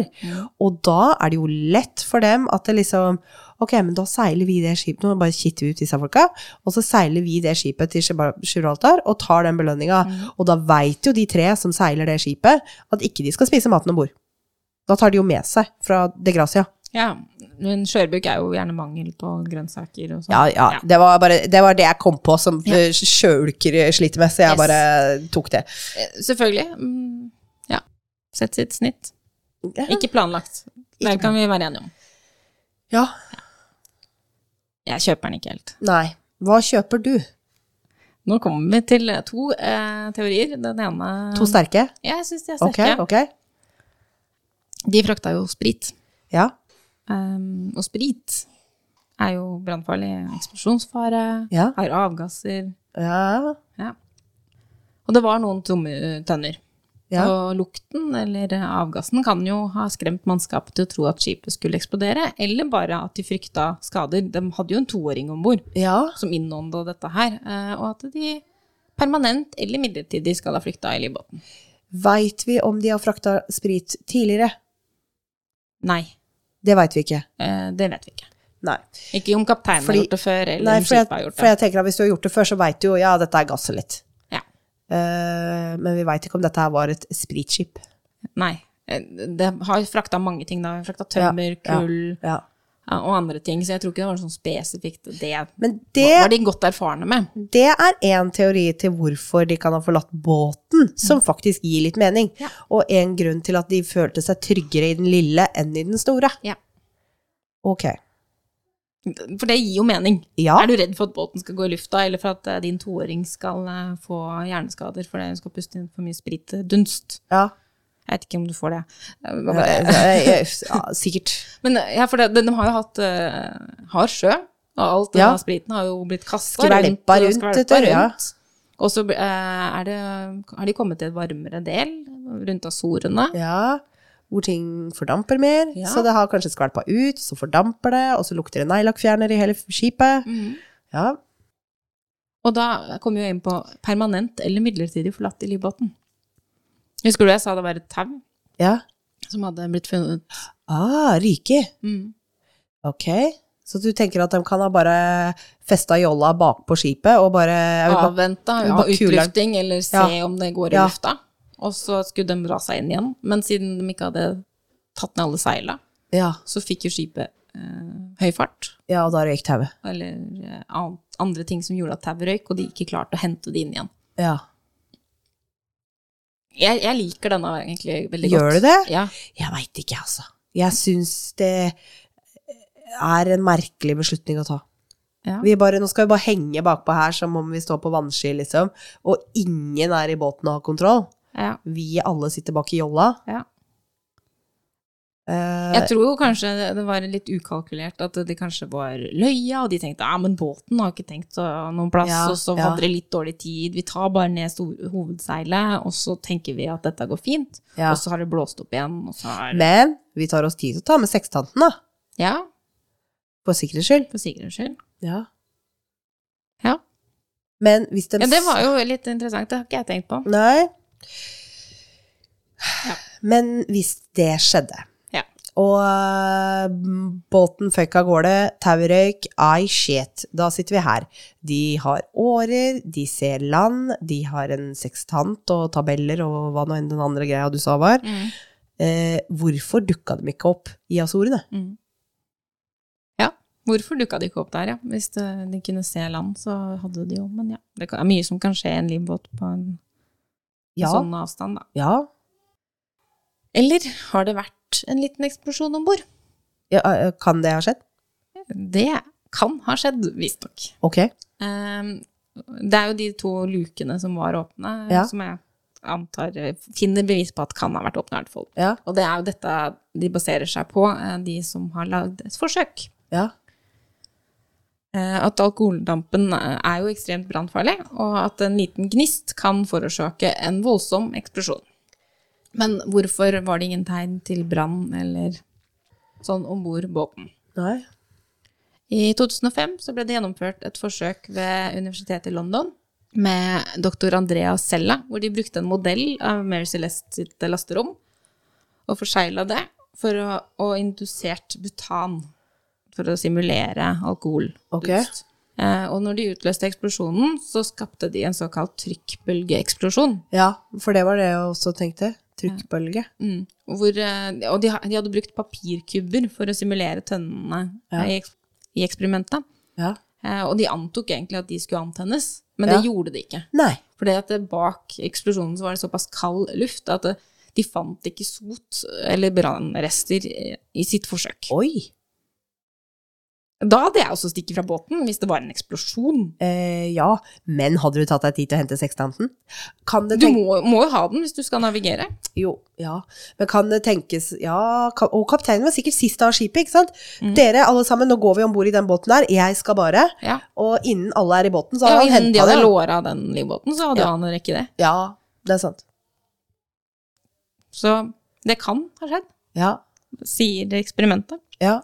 Speaker 2: Og da er det jo lett for dem at det liksom Ok, men da seiler vi det skipet Nå bare kitter vi ut disse folka, og så seiler vi det skipet til Gibraltar- Gibraltar og tar den belønninga. Og da veit jo de tre som seiler det skipet, at ikke de skal spise maten om bord. Da tar de jo med seg fra De Gracia.
Speaker 1: Ja, men skjørbuk er jo gjerne mangel på grønnsaker og sånn.
Speaker 2: Ja, ja.
Speaker 1: Ja.
Speaker 2: Det var, bare, det var det jeg kom på som eh, sjøulker sliter med, så jeg
Speaker 1: Yes.
Speaker 2: bare tok det.
Speaker 1: Eh, Selvfølgelig. Mm, Ja. Sett sitt snitt. Ikke planlagt. Det
Speaker 2: Ikke
Speaker 1: kan vi være enige om.
Speaker 2: Ja.
Speaker 1: Jeg kjøper den ikke helt.
Speaker 2: Nei. Hva kjøper du?
Speaker 1: Nå kommer vi til to eh, teorier. Den ene
Speaker 2: To sterke?
Speaker 1: Ja, jeg syns de er
Speaker 2: Ok,
Speaker 1: Mm. sterke.
Speaker 2: ok.
Speaker 1: De frakta jo sprit.
Speaker 2: Ja.
Speaker 1: Um, og sprit er jo brannfarlig. Eksplosjonsfare,
Speaker 2: Ja.
Speaker 1: har avgasser
Speaker 2: Ja.
Speaker 1: ja. Og det var noen tomme eh, tønner.
Speaker 2: Ja.
Speaker 1: Og lukten eller eh, avgassen kan jo ha skremt mannskapet til å tro at skipet skulle eksplodere, eller bare at de frykta skader. De hadde jo en toåring om bord
Speaker 2: ja.
Speaker 1: som innånda dette her, eh, og at de permanent eller midlertidig skal ha flykta i livbåten.
Speaker 2: Veit vi om de har frakta sprit tidligere?
Speaker 1: Nei,
Speaker 2: Det veit vi ikke.
Speaker 1: eh, det vet vi ikke.
Speaker 2: Nei.
Speaker 1: Ikke om kapteinen har
Speaker 2: Fordi-
Speaker 1: gjort det før, eller
Speaker 2: Nei
Speaker 1: om
Speaker 2: for, jeg,
Speaker 1: skipet har gjort
Speaker 2: for
Speaker 1: det.
Speaker 2: jeg tenker at Hvis du har gjort det før, så veit du jo ja, dette er gasset litt.
Speaker 1: Ja.
Speaker 2: Eh, men vi veit ikke om dette her var et spritskip.
Speaker 1: Nei. eh, Det har frakta mange ting, da. Frakta tømmer,
Speaker 2: Ja, ja.
Speaker 1: kull
Speaker 2: Ja.
Speaker 1: ja, og andre ting, så jeg tror ikke det var sånn spesifikt det.
Speaker 2: Men
Speaker 1: var
Speaker 2: det,
Speaker 1: de godt erfarne med.
Speaker 2: det er én teori til hvorfor de kan ha forlatt båten, som faktisk gir litt mening.
Speaker 1: Mm. Ja.
Speaker 2: Og en grunn til at de følte seg tryggere i den lille enn i den store.
Speaker 1: Ja.
Speaker 2: Ok.
Speaker 1: For det gir jo mening.
Speaker 2: Ja.
Speaker 1: Er du redd for at båten skal gå i lufta, eller for at eh, din toåring skal eh, få hjerneskader fordi hun skal puste inn for mye spritdunst?
Speaker 2: ja. Eh,
Speaker 1: Jeg vet ikke om du får det. Jeg
Speaker 2: Ja,
Speaker 1: bare-
Speaker 2: ja, ja, sikkert.
Speaker 1: Men eh, ja, for det, de, de har jo hatt eh, hard sjø, og alt den
Speaker 2: Ja.
Speaker 1: der spriten har jo blitt kasta
Speaker 2: Skvelpa
Speaker 1: rundt. og
Speaker 2: rundt,
Speaker 1: skvelpa
Speaker 2: vet du, ja.
Speaker 1: rundt. Og så eh, er det, har de kommet til et varmere del, rundt Azorene.
Speaker 2: Ja, hvor ting fordamper mer.
Speaker 1: Ja.
Speaker 2: Så det har kanskje skvalpa ut, så fordamper det, og så lukter det neglelakkfjerner i hele skipet.
Speaker 1: Mhm.
Speaker 2: Ja,
Speaker 1: Og da kommer vi jo inn på permanent eller midlertidig forlatt i livbåten. Husker du jeg sa det var et tau
Speaker 2: ja.
Speaker 1: som hadde blitt funnet?
Speaker 2: Ah, ryke.
Speaker 1: Mm.
Speaker 2: Ok. Så du tenker at de kan ha bare festa jolla bakpå skipet og bare jeg vil bare-
Speaker 1: Avventa
Speaker 2: Ja,
Speaker 1: på
Speaker 2: kuleren.
Speaker 1: utlufting, eller se
Speaker 2: Ja.
Speaker 1: om det går i
Speaker 2: Ja.
Speaker 1: lufta. Og så skulle de dra seg inn igjen. Men siden de ikke hadde tatt ned alle seila,
Speaker 2: Ja,
Speaker 1: så fikk jo skipet eh, høy fart,
Speaker 2: ja og da røyk tauet.
Speaker 1: eller eh, an- andre ting som gjorde at tauet røyk, og de ikke klarte å hente det inn igjen.
Speaker 2: Ja.
Speaker 1: Jeg, jeg liker denne egentlig veldig
Speaker 2: Gjør
Speaker 1: godt.
Speaker 2: du det?
Speaker 1: Ja.
Speaker 2: Jeg veit ikke, altså. Jeg syns det er en merkelig beslutning å ta.
Speaker 1: Ja.
Speaker 2: Vi bare, nå skal vi bare henge bakpå her som om vi står på vannski, liksom. Og ingen er i båten og har kontroll.
Speaker 1: ja,
Speaker 2: Vi alle sitter bak i jolla.
Speaker 1: ja.
Speaker 2: Eh,
Speaker 1: Jeg tror jo kanskje det var litt ukalkulert at det kanskje var løya, og de tenkte ja, men båten har ikke tenkt å- noen plass,
Speaker 2: Ja,
Speaker 1: og så
Speaker 2: ja.
Speaker 1: hadde de litt dårlig tid, vi tar bare ned stor- hovedseilet, og så tenker vi at dette går fint,
Speaker 2: Ja.
Speaker 1: og så har det blåst opp igjen, og så er
Speaker 2: Men vi tar oss tid til å ta med sekstanten, da.
Speaker 1: Ja,
Speaker 2: For sikkerhets skyld.
Speaker 1: for sikkerhets skyld.
Speaker 2: Ja.
Speaker 1: Ja.
Speaker 2: Men hvis den
Speaker 1: ja, det var jo litt interessant, det har ikke jeg tenkt på.
Speaker 2: Nei.
Speaker 1: Ja.
Speaker 2: Men hvis det skjedde,
Speaker 1: Ja.
Speaker 2: og eh, båten føyk av gårde, taurøyk, ai shit, da sitter vi her. De har årer, de ser land, de har en sekstant og tabeller og hva nå enn den andre greia du sa var.
Speaker 1: Mm.
Speaker 2: Eh, hvorfor dukka de ikke opp i Azorene?
Speaker 1: Mm. Ja, hvorfor dukka de ikke opp der, ja? Hvis det, de kunne se land, så hadde de jo, men ja. Det kan- er mye som kan skje i en livbåt på en
Speaker 2: Ja,
Speaker 1: sånn avstand, da.
Speaker 2: ja,
Speaker 1: Eller har det vært en liten eksplosjon om bord?
Speaker 2: ja, eh, kan det ha skjedd?
Speaker 1: Det kan ha skjedd, visstnok.
Speaker 2: Ok.
Speaker 1: Um, det er jo de to lukene som var åpne,
Speaker 2: Ja.
Speaker 1: som jeg antar eh, finner bevis på at kan ha vært åpne. i hvert fall.
Speaker 2: Ja,
Speaker 1: Og det er jo dette de baserer seg på, eh, de som har lagd et forsøk.
Speaker 2: ja,
Speaker 1: Eh, At alkoholdampen eh, er jo ekstremt brannfarlig, og at en liten gnist kan forårsake en voldsom eksplosjon. Men hvorfor var det ingen tegn til brann eller sånn om bord båten?
Speaker 2: nei.
Speaker 1: I 2005 så ble det gjennomført et forsøk ved Universitetet i London med doktor Andrea Sella, hvor de brukte en modell av Mary Celeste sitt lasterom og forsegla det for å, og indusert butan for å simulere alkohol.
Speaker 2: Ok.
Speaker 1: Eh, og når de utløste eksplosjonen, så skapte de en såkalt trykkbølgeeksplosjon.
Speaker 2: Ja, for det var det jeg også tenkte. Trykkbølge.
Speaker 1: Mm. Hvor, eh, og de, ha- de hadde brukt papirkubber for å simulere tønnene
Speaker 2: Ja.
Speaker 1: eh, i, eks- i eksperimentet.
Speaker 2: Ja.
Speaker 1: Eh, og de antok egentlig at de skulle antennes, men
Speaker 2: Ja.
Speaker 1: det gjorde de ikke.
Speaker 2: Nei.
Speaker 1: Fordi at det- bak eksplosjonen så var det såpass kald luft at det- de fant ikke sot eller brannrester eh, i sitt forsøk.
Speaker 2: Oi.
Speaker 1: Da hadde jeg også stikket fra båten hvis det var en eksplosjon.
Speaker 2: Eh, ja, men hadde du tatt deg tid til å hente sekstanten? Kan det
Speaker 1: Du
Speaker 2: tenk-
Speaker 1: må, må jo ha den hvis du skal navigere.
Speaker 2: Jo, ja. Men kan det tenkes Ja, ka- og kapteinen var sikkert sist av skipet, ikke sant?
Speaker 1: Mm.
Speaker 2: Dere alle sammen, nå går vi om bord i den båten der. Jeg skal bare.
Speaker 1: Ja.
Speaker 2: Og innen alle er i båten, så
Speaker 1: Ja,
Speaker 2: har
Speaker 1: og
Speaker 2: han
Speaker 1: innen de
Speaker 2: henta
Speaker 1: hadde
Speaker 2: det.
Speaker 1: låra den livbåten, så hadde
Speaker 2: Ja.
Speaker 1: jo han en rekke det.
Speaker 2: Ja, det er sant.
Speaker 1: Så det kan ha skjedd,
Speaker 2: Ja.
Speaker 1: sier det eksperimentet.
Speaker 2: Ja.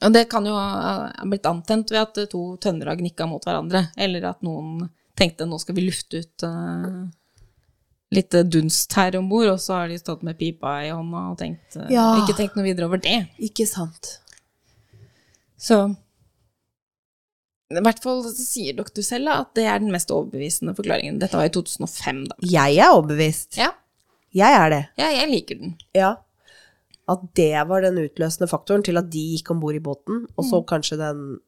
Speaker 1: Og det kan jo ha ha blitt antent ved at to tønner har gnikka mot hverandre, eller at noen tenkte nå skal vi lufte ut eh, litt dunst her om bord, og så har de stått med pipa i hånda og tenkt, eh,
Speaker 2: Ja.
Speaker 1: ikke tenkt noe videre over det.
Speaker 2: Ikke sant.
Speaker 1: Så i hvert fall så sier doktor selv at det er den mest overbevisende forklaringen. Dette var i 2005, da.
Speaker 2: Jeg er overbevist.
Speaker 1: Ja,
Speaker 2: Jeg er det.
Speaker 1: ja jeg liker den.
Speaker 2: Ja. At det var den utløsende faktoren til at de gikk om bord i båten, og
Speaker 1: Mm.
Speaker 2: så kanskje den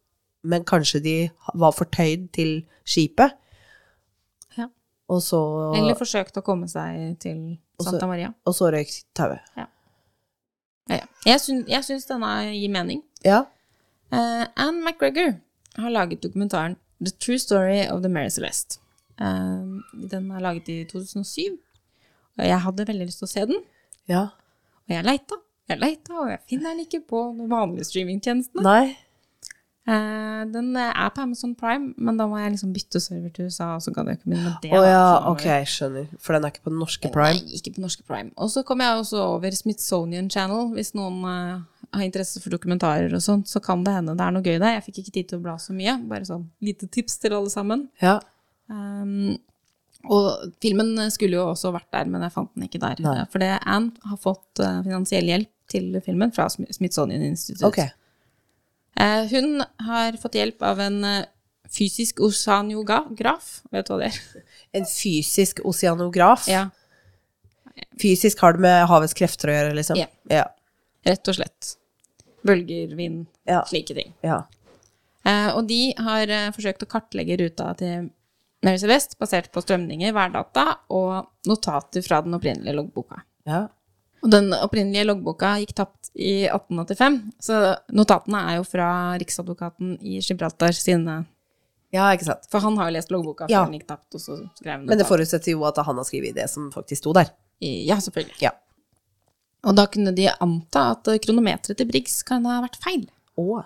Speaker 2: Men kanskje de var fortøyd til skipet,
Speaker 1: Ja.
Speaker 2: og så,
Speaker 1: Eller forsøkte å komme seg til
Speaker 2: Og så-
Speaker 1: Santa Maria.
Speaker 2: og så røyk tauet.
Speaker 1: Ja, ja. Jeg, syns, jeg syns denne gir mening.
Speaker 2: Ja.
Speaker 1: Eh, Anne McGregor har laget dokumentaren The True Story of the Mary Celeste. Eh, den er laget i 2007. Og jeg hadde veldig lyst til å se den,
Speaker 2: ja.
Speaker 1: og jeg leita. Jeg leita, og jeg finner den ikke på de vanlige streamingtjenestene.
Speaker 2: Nei.
Speaker 1: Eh, den er på Amazon Prime, men da må jeg liksom bytte server til USA. Og så kan jeg ikke begynne med det.
Speaker 2: Å
Speaker 1: da,
Speaker 2: ja,
Speaker 1: fremover.
Speaker 2: ok, skjønner. For den er ikke på den norske prime.
Speaker 1: Nei, ikke på norske Prime. Og så kom jeg også over Smithsonian Channel, hvis noen eh, har interesse for dokumentarer og sånt, så kan det hende det er noe gøy der. Jeg fikk ikke tid til å bla så mye, bare sånn lite tips til alle sammen.
Speaker 2: Ja.
Speaker 1: Ehm, og filmen skulle jo også vært der, men jeg fant den ikke der.
Speaker 2: Nei.
Speaker 1: For det Anne har fått eh, finansiell hjelp til filmen fra Smi- Smithsonian Institute.
Speaker 2: Ok.
Speaker 1: Eh, hun har fått hjelp av en eh, fysisk oceanograf, vet du hva det er?
Speaker 2: En fysisk oseanograf.
Speaker 1: Ja.
Speaker 2: Fysisk har det med havets krefter å gjøre, liksom.
Speaker 1: Ja.
Speaker 2: Ja.
Speaker 1: Rett og slett. Bølger, vind,
Speaker 2: Ja.
Speaker 1: slike ting.
Speaker 2: ja.
Speaker 1: Eh, og de har eh, forsøkt å kartlegge ruta til Mary Celeste basert på strømninger, værdata og notater fra den opprinnelige loggboka.
Speaker 2: ja.
Speaker 1: Og den opprinnelige loggboka gikk tapt i 1885, så notatene er jo fra riksadvokaten i Gibraltar sine
Speaker 2: Ja, ikke sant.
Speaker 1: For han har jo lest loggboka før
Speaker 2: Ja.
Speaker 1: den gikk tapt, og så skrev han
Speaker 2: Men det
Speaker 1: notat.
Speaker 2: forutsetter jo at han har skrevet det som faktisk sto der.
Speaker 1: i- Ja, selvfølgelig.
Speaker 2: Ja.
Speaker 1: Og da kunne de anta at eh, kronometeret til Briggs kan ha vært feil.
Speaker 2: Å.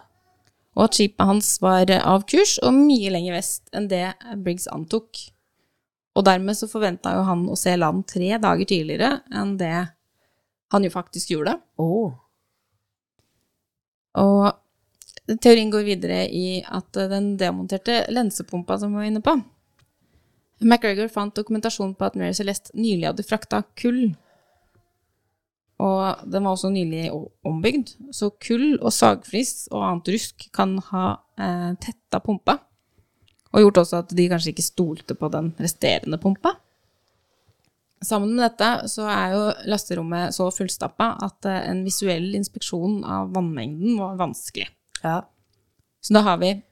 Speaker 1: og at skipet hans var av kurs og mye lenger vest enn det Briggs antok. Og dermed så forventa jo han å se land tre dager tidligere enn det han jo faktisk gjorde.
Speaker 2: Å.
Speaker 1: Og teorien går videre i at eh, den demonterte lensepumpa som vi var inne på McGregor fant dokumentasjon på at Mary Celeste nylig hadde frakta kull. Og den var også nylig o- ombygd, så kull og sagflis og annet rusk kan ha eh, tetta pumpa. Og gjort også at de kanskje ikke stolte på den resterende pumpa. Sammen med dette så er jo lasterommet så fullstappa at eh, en visuell inspeksjon av vannmengden var vanskelig.
Speaker 2: Ja.
Speaker 1: Så da har vi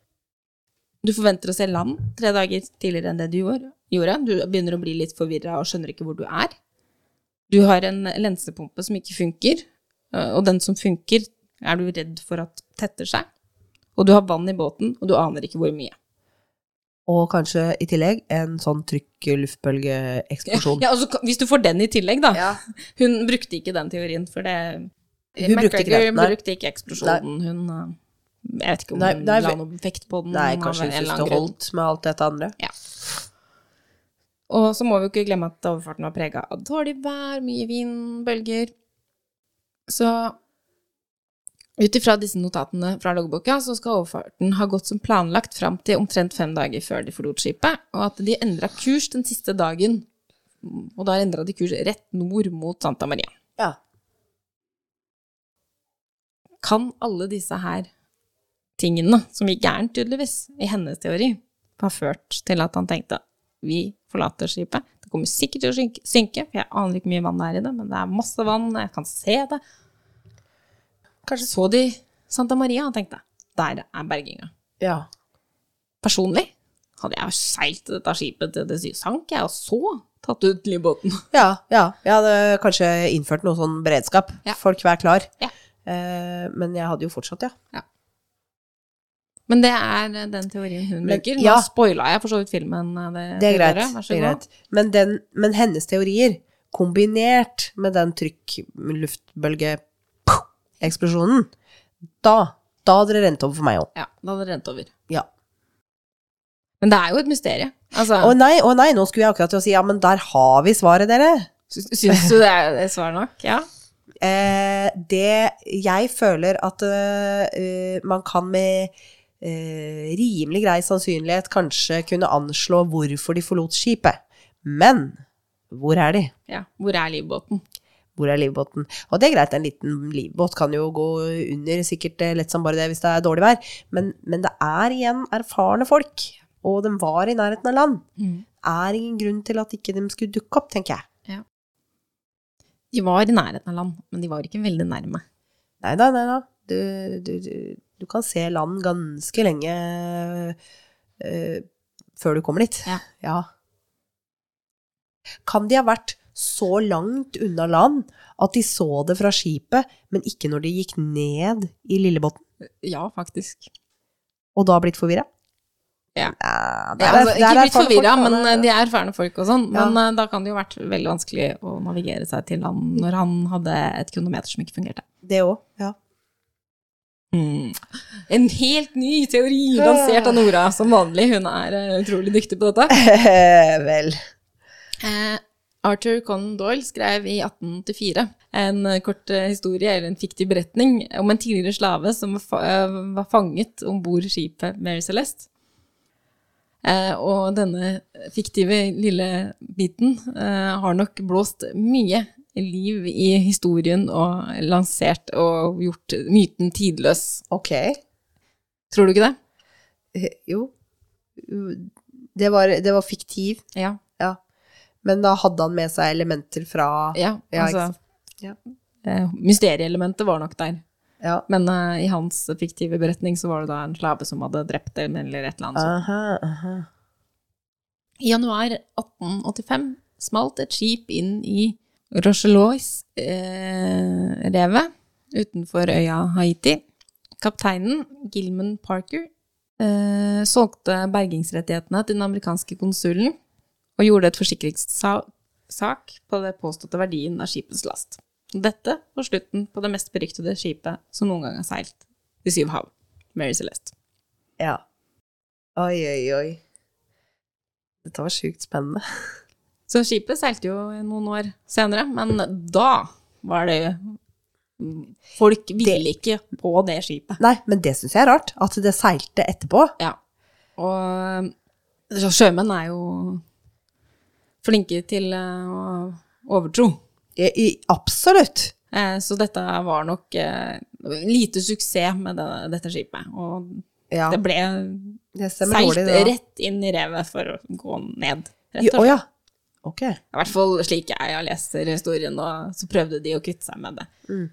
Speaker 1: Du forventer å se land tre dager tidligere enn det du gjorde. gjorde. Du begynner å bli litt forvirra og skjønner ikke hvor du er. Du har en lensepumpe som ikke funker, eh, og den som funker, er du redd for at tetter seg. Og du har vann i båten, og du aner ikke hvor mye.
Speaker 2: Og kanskje i tillegg en sånn trykk-luftbølgeeksplosjon.
Speaker 1: Ja, altså, hvis du får den i tillegg, da.
Speaker 2: Ja.
Speaker 1: Hun brukte ikke den teorien, for det
Speaker 2: Hun brukte ikke
Speaker 1: McGregor
Speaker 2: den, nei.
Speaker 1: brukte ikke eksplosjonen. Hun eh, Jeg vet ikke om
Speaker 2: Nei,
Speaker 1: hun
Speaker 2: nei,
Speaker 1: la
Speaker 2: vi-
Speaker 1: noe vekt på den.
Speaker 2: Nei,
Speaker 1: av
Speaker 2: kanskje
Speaker 1: en
Speaker 2: hun
Speaker 1: eller
Speaker 2: syns
Speaker 1: annen
Speaker 2: det
Speaker 1: grunn.
Speaker 2: holdt med alt dette andre.
Speaker 1: Og så må vi jo ikke glemme at overfarten var prega av dårlig vær, mye vind, bølger. Så Ut ifra disse notatene fra loggboka så skal overfarten ha gått som planlagt fram til omtrent fem dager før de forlot skipet, og at de endra kurs den siste dagen. Og da endra de kurs rett nord mot Santa Maria.
Speaker 2: Ja.
Speaker 1: Kan alle disse her tingene, som gikk gærent tydeligvis, i hennes teori, ha ført til at han tenkte vi forlater skipet, det kommer sikkert til å synke, synke, for jeg aner ikke hvor mye vann det er i det, men det er masse vann, jeg kan se det.
Speaker 2: Kanskje
Speaker 1: Så de Santa Maria og tenkte der er berginga.
Speaker 2: Ja.
Speaker 1: Personlig hadde jeg jo seilt dette skipet til det sank, jeg, og så tatt ut livbåten.
Speaker 2: Ja, ja. Jeg hadde kanskje innført noe sånn beredskap.
Speaker 1: Ja.
Speaker 2: Folk vær klar.
Speaker 1: Ja.
Speaker 2: Eh, men jeg hadde jo fortsatt, ja.
Speaker 1: Men det er eh, den teorien hun
Speaker 2: Men-
Speaker 1: bruker. Nå
Speaker 2: ja.
Speaker 1: spoila jeg for så vidt filmen. eh, Det,
Speaker 2: Det er greit.
Speaker 1: tidligere. Vær så
Speaker 2: det er
Speaker 1: god.
Speaker 2: greit. Men, den, men hennes teorier, kombinert med den trykk-luftbølge-eksplosjonen, da, da hadde det rent over for meg òg.
Speaker 1: Ja, da hadde det rent over.
Speaker 2: Ja.
Speaker 1: Men det er jo et mysterium. Altså,
Speaker 2: Å nei, å nei, nå skulle jeg akkurat til å si ja, men der har vi svaret, dere.
Speaker 1: sy- Syns du det er er svar nok? Ja.
Speaker 2: Eh, det jeg føler at eh, eh, man kan med eh, rimelig grei sannsynlighet kanskje kunne anslå hvorfor de forlot skipet. Men hvor er de?
Speaker 1: ja. Hvor er livbåten?
Speaker 2: Hvor er livbåten? Og det er greit, en liten livbåt kan jo gå under sikkert eh, lett som bare det hvis det er dårlig vær, men, men det er igjen erfarne folk, og de var i nærheten av land. Er ingen grunn til at ikke de skulle dukke opp, tenker jeg.
Speaker 1: De var i nærheten av land, men de var ikke veldig nærme.
Speaker 2: Nei da, nei da. Du, du, du, du kan se land ganske lenge eh, før du kommer dit.
Speaker 1: Ja.
Speaker 2: Kan de ha vært så langt unna land at de så det fra skipet, men ikke når de gikk ned i Lillebotn,
Speaker 1: Ja, faktisk.
Speaker 2: og da blitt forvirra?
Speaker 1: Ja.
Speaker 2: Nei,
Speaker 1: Ja,
Speaker 2: der er-
Speaker 1: altså,
Speaker 2: der er
Speaker 1: ikke blitt
Speaker 2: folk-
Speaker 1: forvirra,
Speaker 2: folk-
Speaker 1: men eh, de er erfarne folk og sånn.
Speaker 2: Ja.
Speaker 1: Men eh, da kan det jo ha vært veldig vanskelig å navigere seg til land når han hadde et kronometer som ikke fungerte.
Speaker 2: Det òg, ja.
Speaker 1: En helt ny teori lansert av Nora, som vanlig. Hun er eh, utrolig dyktig på dette.
Speaker 2: Vel.
Speaker 1: Eh, Arthur Conan Doyle skrev i 1884 en eh, kort eh, historie, eller en fiktiv beretning, om en tidligere slave som var, fa eh, var fanget om bord skipet Mary Celeste. Eh, og denne fiktive lille biten eh, har nok blåst mye liv i historien og lansert og gjort myten tidløs.
Speaker 2: Ok. Eh,
Speaker 1: Tror du ikke det?
Speaker 2: Jo. Det var, det var fiktiv.
Speaker 1: Ja.
Speaker 2: Ja. Men da hadde han med seg elementer fra
Speaker 1: ja,
Speaker 2: Ja,
Speaker 1: altså,
Speaker 2: ikke
Speaker 1: eh, mysterieelementet var nok der.
Speaker 2: Ja.
Speaker 1: Men eh, i hans fiktive beretning så var det da en slave som hadde drept en eller et eller annet. sånt.
Speaker 2: Aha, aha.
Speaker 1: I januar 1885 smalt et skip inn i Rochelois-revet utenfor øya Haiti. Kapteinen, Gilman Parker, eh, solgte bergingsrettighetene til den amerikanske konsulen og gjorde et forsikringssak på det påståtte verdien av skipets last. Dette var slutten på det mest beryktede skipet som noen gang har seilt de syv hav, Mary Celeste.
Speaker 2: Ja. Oi, oi, oi. Dette var sjukt spennende.
Speaker 1: Så skipet seilte jo noen år senere, men da var det Folk ville ikke på det skipet.
Speaker 2: Nei, men det syns jeg er rart. At det seilte etterpå.
Speaker 1: Ja. Og så sjømenn er jo flinke til eh, å overtro.
Speaker 2: I, i, absolutt.
Speaker 1: Eh, Så dette var nok eh, lite suksess med det, dette skipet. Og
Speaker 2: Ja,
Speaker 1: det ble
Speaker 2: det stemmer
Speaker 1: seilt
Speaker 2: dårlig, det. da.
Speaker 1: rett inn i revet for å gå ned.
Speaker 2: I-
Speaker 1: Rett og
Speaker 2: Å
Speaker 1: slett.
Speaker 2: ja. Ok.
Speaker 1: I hvert fall slik jeg leser historien, og så prøvde de å kvitte seg med det.
Speaker 2: Mm.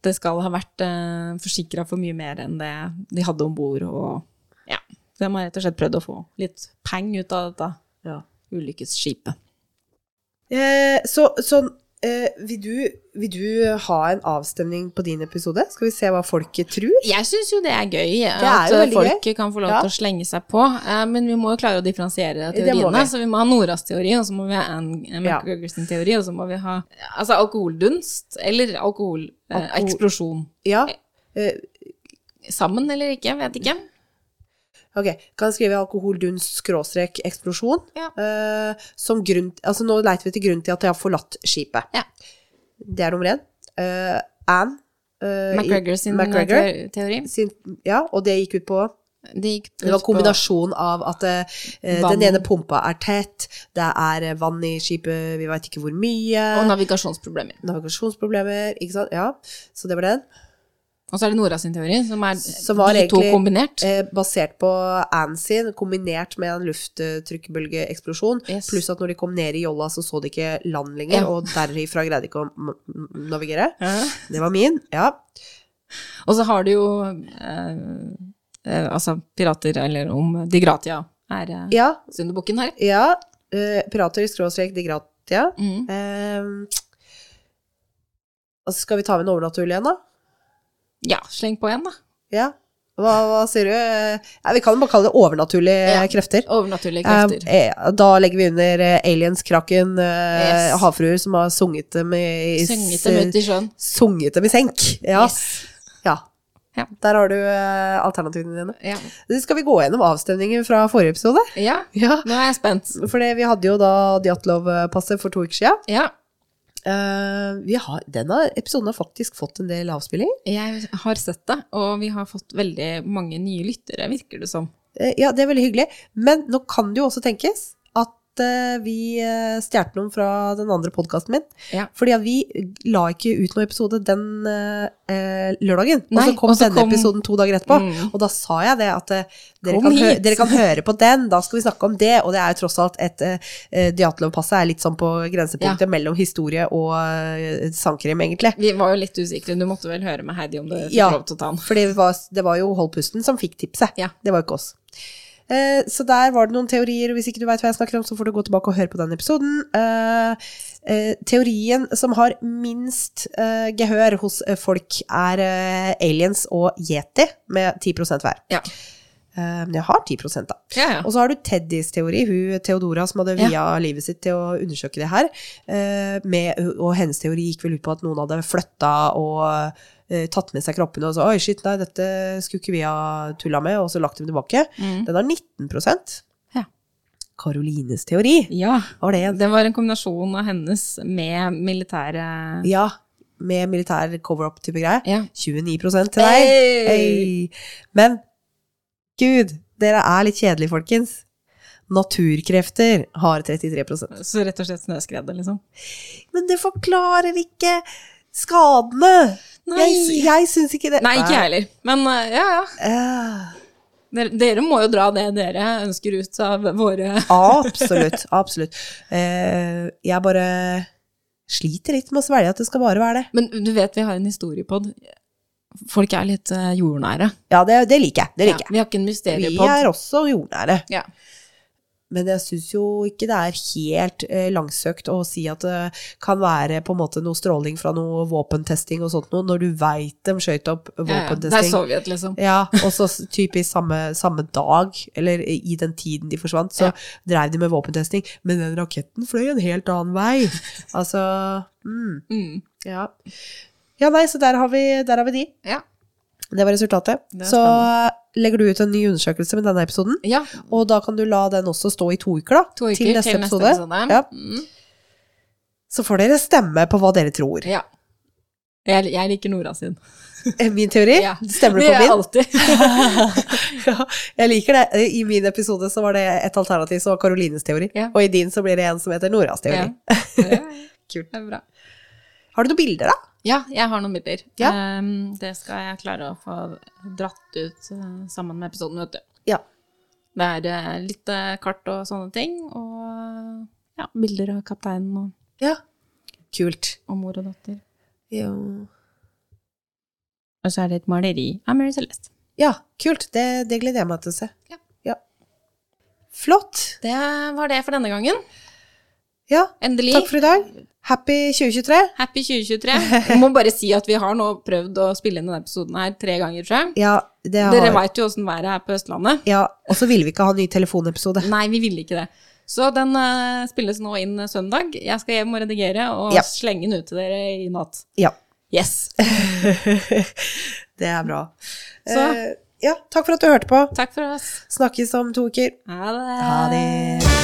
Speaker 1: Det skal ha vært eh, forsikra for mye mer enn det de hadde om bord, og ja. De har rett og slett prøvd å få litt peng ut av dette
Speaker 2: Ja.
Speaker 1: ulykkesskipet.
Speaker 2: Eh, så sånn eh, vil, du, vil du ha en avstemning på din episode? Skal vi se hva folket tror?
Speaker 1: Jeg syns jo det er gøy,
Speaker 2: er
Speaker 1: at
Speaker 2: jo
Speaker 1: eh,
Speaker 2: veldig
Speaker 1: folk kan få lov
Speaker 2: Ja.
Speaker 1: til å slenge seg på. eh, Men vi må jo klare å differensiere
Speaker 2: Det må
Speaker 1: teoriene.
Speaker 2: vi.
Speaker 1: Så vi må ha Noras teori, og så må vi ha Anne
Speaker 2: Ja.
Speaker 1: McGregors teori, og så må vi ha altså, alkoholdunst eller alkoholeksplosjon.
Speaker 2: Alkohol-
Speaker 1: Eh, eksplosjon.
Speaker 2: Ja. Eh,
Speaker 1: Sammen eller ikke, vet ikke.
Speaker 2: Ok, kan jeg skrive alkoholdunst skråstrek eksplosjon?
Speaker 1: Ja.
Speaker 2: Eh, som grunn, altså nå leiter vi til grunnen til at jeg har forlatt skipet.
Speaker 1: Ja.
Speaker 2: Det er nummer én. Eh, Anne eh, i-
Speaker 1: McGregor sin
Speaker 2: McGregor
Speaker 1: te- teori.
Speaker 2: sin, ja, og det gikk ut på
Speaker 1: Det gikk
Speaker 2: Det var
Speaker 1: ut på-
Speaker 2: kombinasjon av at eh, eh,
Speaker 1: Vann.
Speaker 2: den ene pumpa er tett, det er eh, vann i skipet, vi veit ikke hvor mye.
Speaker 1: Og navigasjonsproblemer.
Speaker 2: Navigasjonsproblemer, ikke sant. Ja, så det var den.
Speaker 1: Og så er det Nora sin teori, som er
Speaker 2: Som var
Speaker 1: de to
Speaker 2: egentlig-
Speaker 1: kombinert.
Speaker 2: Eh, basert på Anne sin, kombinert med en lufttrykkbølgeeksplosjon.
Speaker 1: Yes.
Speaker 2: Pluss at når de kom ned i jolla, så så de ikke land lenger,
Speaker 1: Ja.
Speaker 2: og derifra greide de ikke å m- m- navigere.
Speaker 1: Ja.
Speaker 2: Det var min. Ja.
Speaker 1: Og så har du jo eh, eh, altså pirater, eller om De Gratia er eh,
Speaker 2: Ja.
Speaker 1: syndebukken her.
Speaker 2: ja. Eh, pirater i skråstrek de gratia.
Speaker 1: Mm.
Speaker 2: Ehm, altså, skal vi ta med en overnaturlig en, da?
Speaker 1: Ja, sleng på en, da.
Speaker 2: Ja. Hva, hva sier du? Eh, Ja, vi kan jo bare kalle det overnaturlige
Speaker 1: Ja.
Speaker 2: krefter.
Speaker 1: Overnaturlige krefter.
Speaker 2: Eh, eh, da legger vi under eh, aliens-kraken eh,
Speaker 1: Yes.
Speaker 2: havfruer som har sunget dem i, i
Speaker 1: Synget dem ut i sjøen.
Speaker 2: sunget dem i senk. Ja.
Speaker 1: Yes.
Speaker 2: ja.
Speaker 1: Ja.
Speaker 2: Der har du eh, alternativene dine.
Speaker 1: Ja.
Speaker 2: Så Skal vi gå gjennom avstemningen fra forrige episode?
Speaker 1: ja,
Speaker 2: Ja.
Speaker 1: nå er jeg spent.
Speaker 2: For det- vi hadde jo da Diatlov-passet for to uker siden.
Speaker 1: Ja,
Speaker 2: Eh, vi har, denne episoden har faktisk fått en del avspilling.
Speaker 1: jeg har sett det, og vi har fått veldig mange nye lyttere, virker det som.
Speaker 2: Eh, ja, det er veldig hyggelig. Men nå kan det jo også tenkes at eh, vi uh, stjal noen fra den andre podkasten min.
Speaker 1: Ja.
Speaker 2: Fordi at vi la ikke ut noen episode den eh, eh, lørdagen.
Speaker 1: Nei,
Speaker 2: og så kom
Speaker 1: og så
Speaker 2: denne
Speaker 1: kom-
Speaker 2: episoden to dager etterpå.
Speaker 1: Mm.
Speaker 2: Og da sa jeg det at eh, dere
Speaker 1: Kom
Speaker 2: kan, hø
Speaker 1: hit.
Speaker 2: dere kan høre på den, da skal vi snakke om det. Og det er jo tross alt et uh, Diatlov-passet er litt sånn på grensepunktet mellom historie og eh, sangkrim, egentlig.
Speaker 1: Vi var jo litt usikre, du måtte vel høre med Heidi om du fikk
Speaker 2: Ja.
Speaker 1: lov til å ta den.
Speaker 2: For det var, det var jo Hold pusten som fikk tipset.
Speaker 1: Ja.
Speaker 2: Det var jo ikke oss. Eh, så der var det noen teorier, og hvis ikke du veit hva jeg snakker om, så får du gå tilbake og høre på den episoden. Eh, eh, teorien som har minst eh, gehør hos eh, folk, er eh, aliens og yeti, med 10 hver.
Speaker 1: Ja.
Speaker 2: Eh, men jeg har 10 da.
Speaker 1: Ja, ja.
Speaker 2: Og så har du Teddys teori, hun Theodora som hadde
Speaker 1: Ja.
Speaker 2: via livet sitt til å undersøke det her. eh, Med, og hennes teori gikk vel ut på at noen hadde flytta og eh, tatt med seg kroppene og så Oi, shit, nei, dette skulle ikke vi ha tulla med, og så lagt dem tilbake.
Speaker 1: Mm.
Speaker 2: Den har 19
Speaker 1: Ja.
Speaker 2: Karolines teori,
Speaker 1: Ja,
Speaker 2: var det en?
Speaker 1: det var en kombinasjon av hennes med militære
Speaker 2: Ja. Med militær cover-up-type greie.
Speaker 1: Ja.
Speaker 2: 29 til deg. Hey. Men gud, dere er litt kjedelige, folkens. Naturkrefter har 33
Speaker 1: Så rett og slett snøskredet, liksom.
Speaker 2: Men det forklarer ikke skadene! Jeg, jeg syns ikke det
Speaker 1: Nei, ikke jeg heller. Men eh, ja, ja.
Speaker 2: Eh,
Speaker 1: Dere, dere må jo dra det dere ønsker ut av våre
Speaker 2: absolutt. Absolutt. Eh, jeg bare sliter litt med å svelge at det skal bare være det.
Speaker 1: Men du vet, vi har en historiepod. Folk er litt eh, jordnære.
Speaker 2: Ja, det, det liker jeg. Det
Speaker 1: Ja,
Speaker 2: liker jeg.
Speaker 1: vi har ikke en
Speaker 2: Vi
Speaker 1: mysteriepod.
Speaker 2: er også jordnære.
Speaker 1: Ja.
Speaker 2: Men jeg syns jo ikke det er helt eh, langsøkt å si at det kan være på en måte noe stråling fra noe våpentesting og sånt noe, når du veit de skøyt opp
Speaker 1: Ja, ja. Det er
Speaker 2: våpentesting.
Speaker 1: Sovjet, liksom.
Speaker 2: Ja, og så s- typisk samme, samme dag, eller i den tiden de forsvant, så
Speaker 1: Ja.
Speaker 2: drev de med våpentesting. Men den raketten fløy en helt annen vei. Altså mm,
Speaker 1: Mm.
Speaker 2: ja. ja, nei, så der har vi, der har vi de.
Speaker 1: Ja.
Speaker 2: Det var resultatet.
Speaker 1: Det er
Speaker 2: Så eh, legger du ut en ny undersøkelse med denne episoden.
Speaker 1: ja.
Speaker 2: Og da kan du la den også stå i to uker, da.
Speaker 1: To uker til neste, episode.
Speaker 2: Ja.
Speaker 1: Mm.
Speaker 2: Så får dere stemme på hva dere tror.
Speaker 1: ja. Jeg, jeg liker Nora sin.
Speaker 2: Min teori?
Speaker 1: Ja.
Speaker 2: Stemmer du
Speaker 1: Det
Speaker 2: på
Speaker 1: gjør
Speaker 2: min?
Speaker 1: jeg alltid.
Speaker 2: Ja, jeg liker det. I min episode så var det et alternativ som var Karolines teori,
Speaker 1: Ja.
Speaker 2: og i din så blir det en som heter Noras teori.
Speaker 1: Ja. Ja.
Speaker 2: Kult.
Speaker 1: Det er bra.
Speaker 2: Har du noen bilder, da?
Speaker 1: Ja, jeg har noen bilder.
Speaker 2: Ja.
Speaker 1: Ehm, det skal jeg klare å få dratt ut eh, sammen med episoden, vet du.
Speaker 2: Ja.
Speaker 1: Det er eh, litt eh, kart og sånne ting, og ja, bilder av kapteinen og,
Speaker 2: Kult.
Speaker 1: og mor og datter. Og så er det et maleri av Mary Celeste.
Speaker 2: Ja, kult. Det, det gleder jeg meg til å se.
Speaker 1: Ja.
Speaker 2: Flott.
Speaker 1: Det var det for denne gangen.
Speaker 2: Ja,
Speaker 1: Endelig.
Speaker 2: takk for i dag. Happy 2023.
Speaker 1: Happy 2023. Jeg må bare si at vi har nå prøvd å spille inn denne episoden her tre ganger, tror jeg.
Speaker 2: Ja, det har...
Speaker 1: Dere veit jo åssen været er på Østlandet.
Speaker 2: Ja, og så ville vi ikke ha ny telefonepisode.
Speaker 1: Nei, vi ville ikke det. Så den eh, spilles nå inn søndag. Jeg skal hjem og redigere og
Speaker 2: Ja.
Speaker 1: slenge den ut til dere i natt.
Speaker 2: Ja,
Speaker 1: Yes!
Speaker 2: det er bra.
Speaker 1: Så.
Speaker 2: Eh, ja, takk for at du hørte på.
Speaker 1: Takk for oss.
Speaker 2: Snakkes om to uker.
Speaker 1: Ha det.
Speaker 2: Ha det.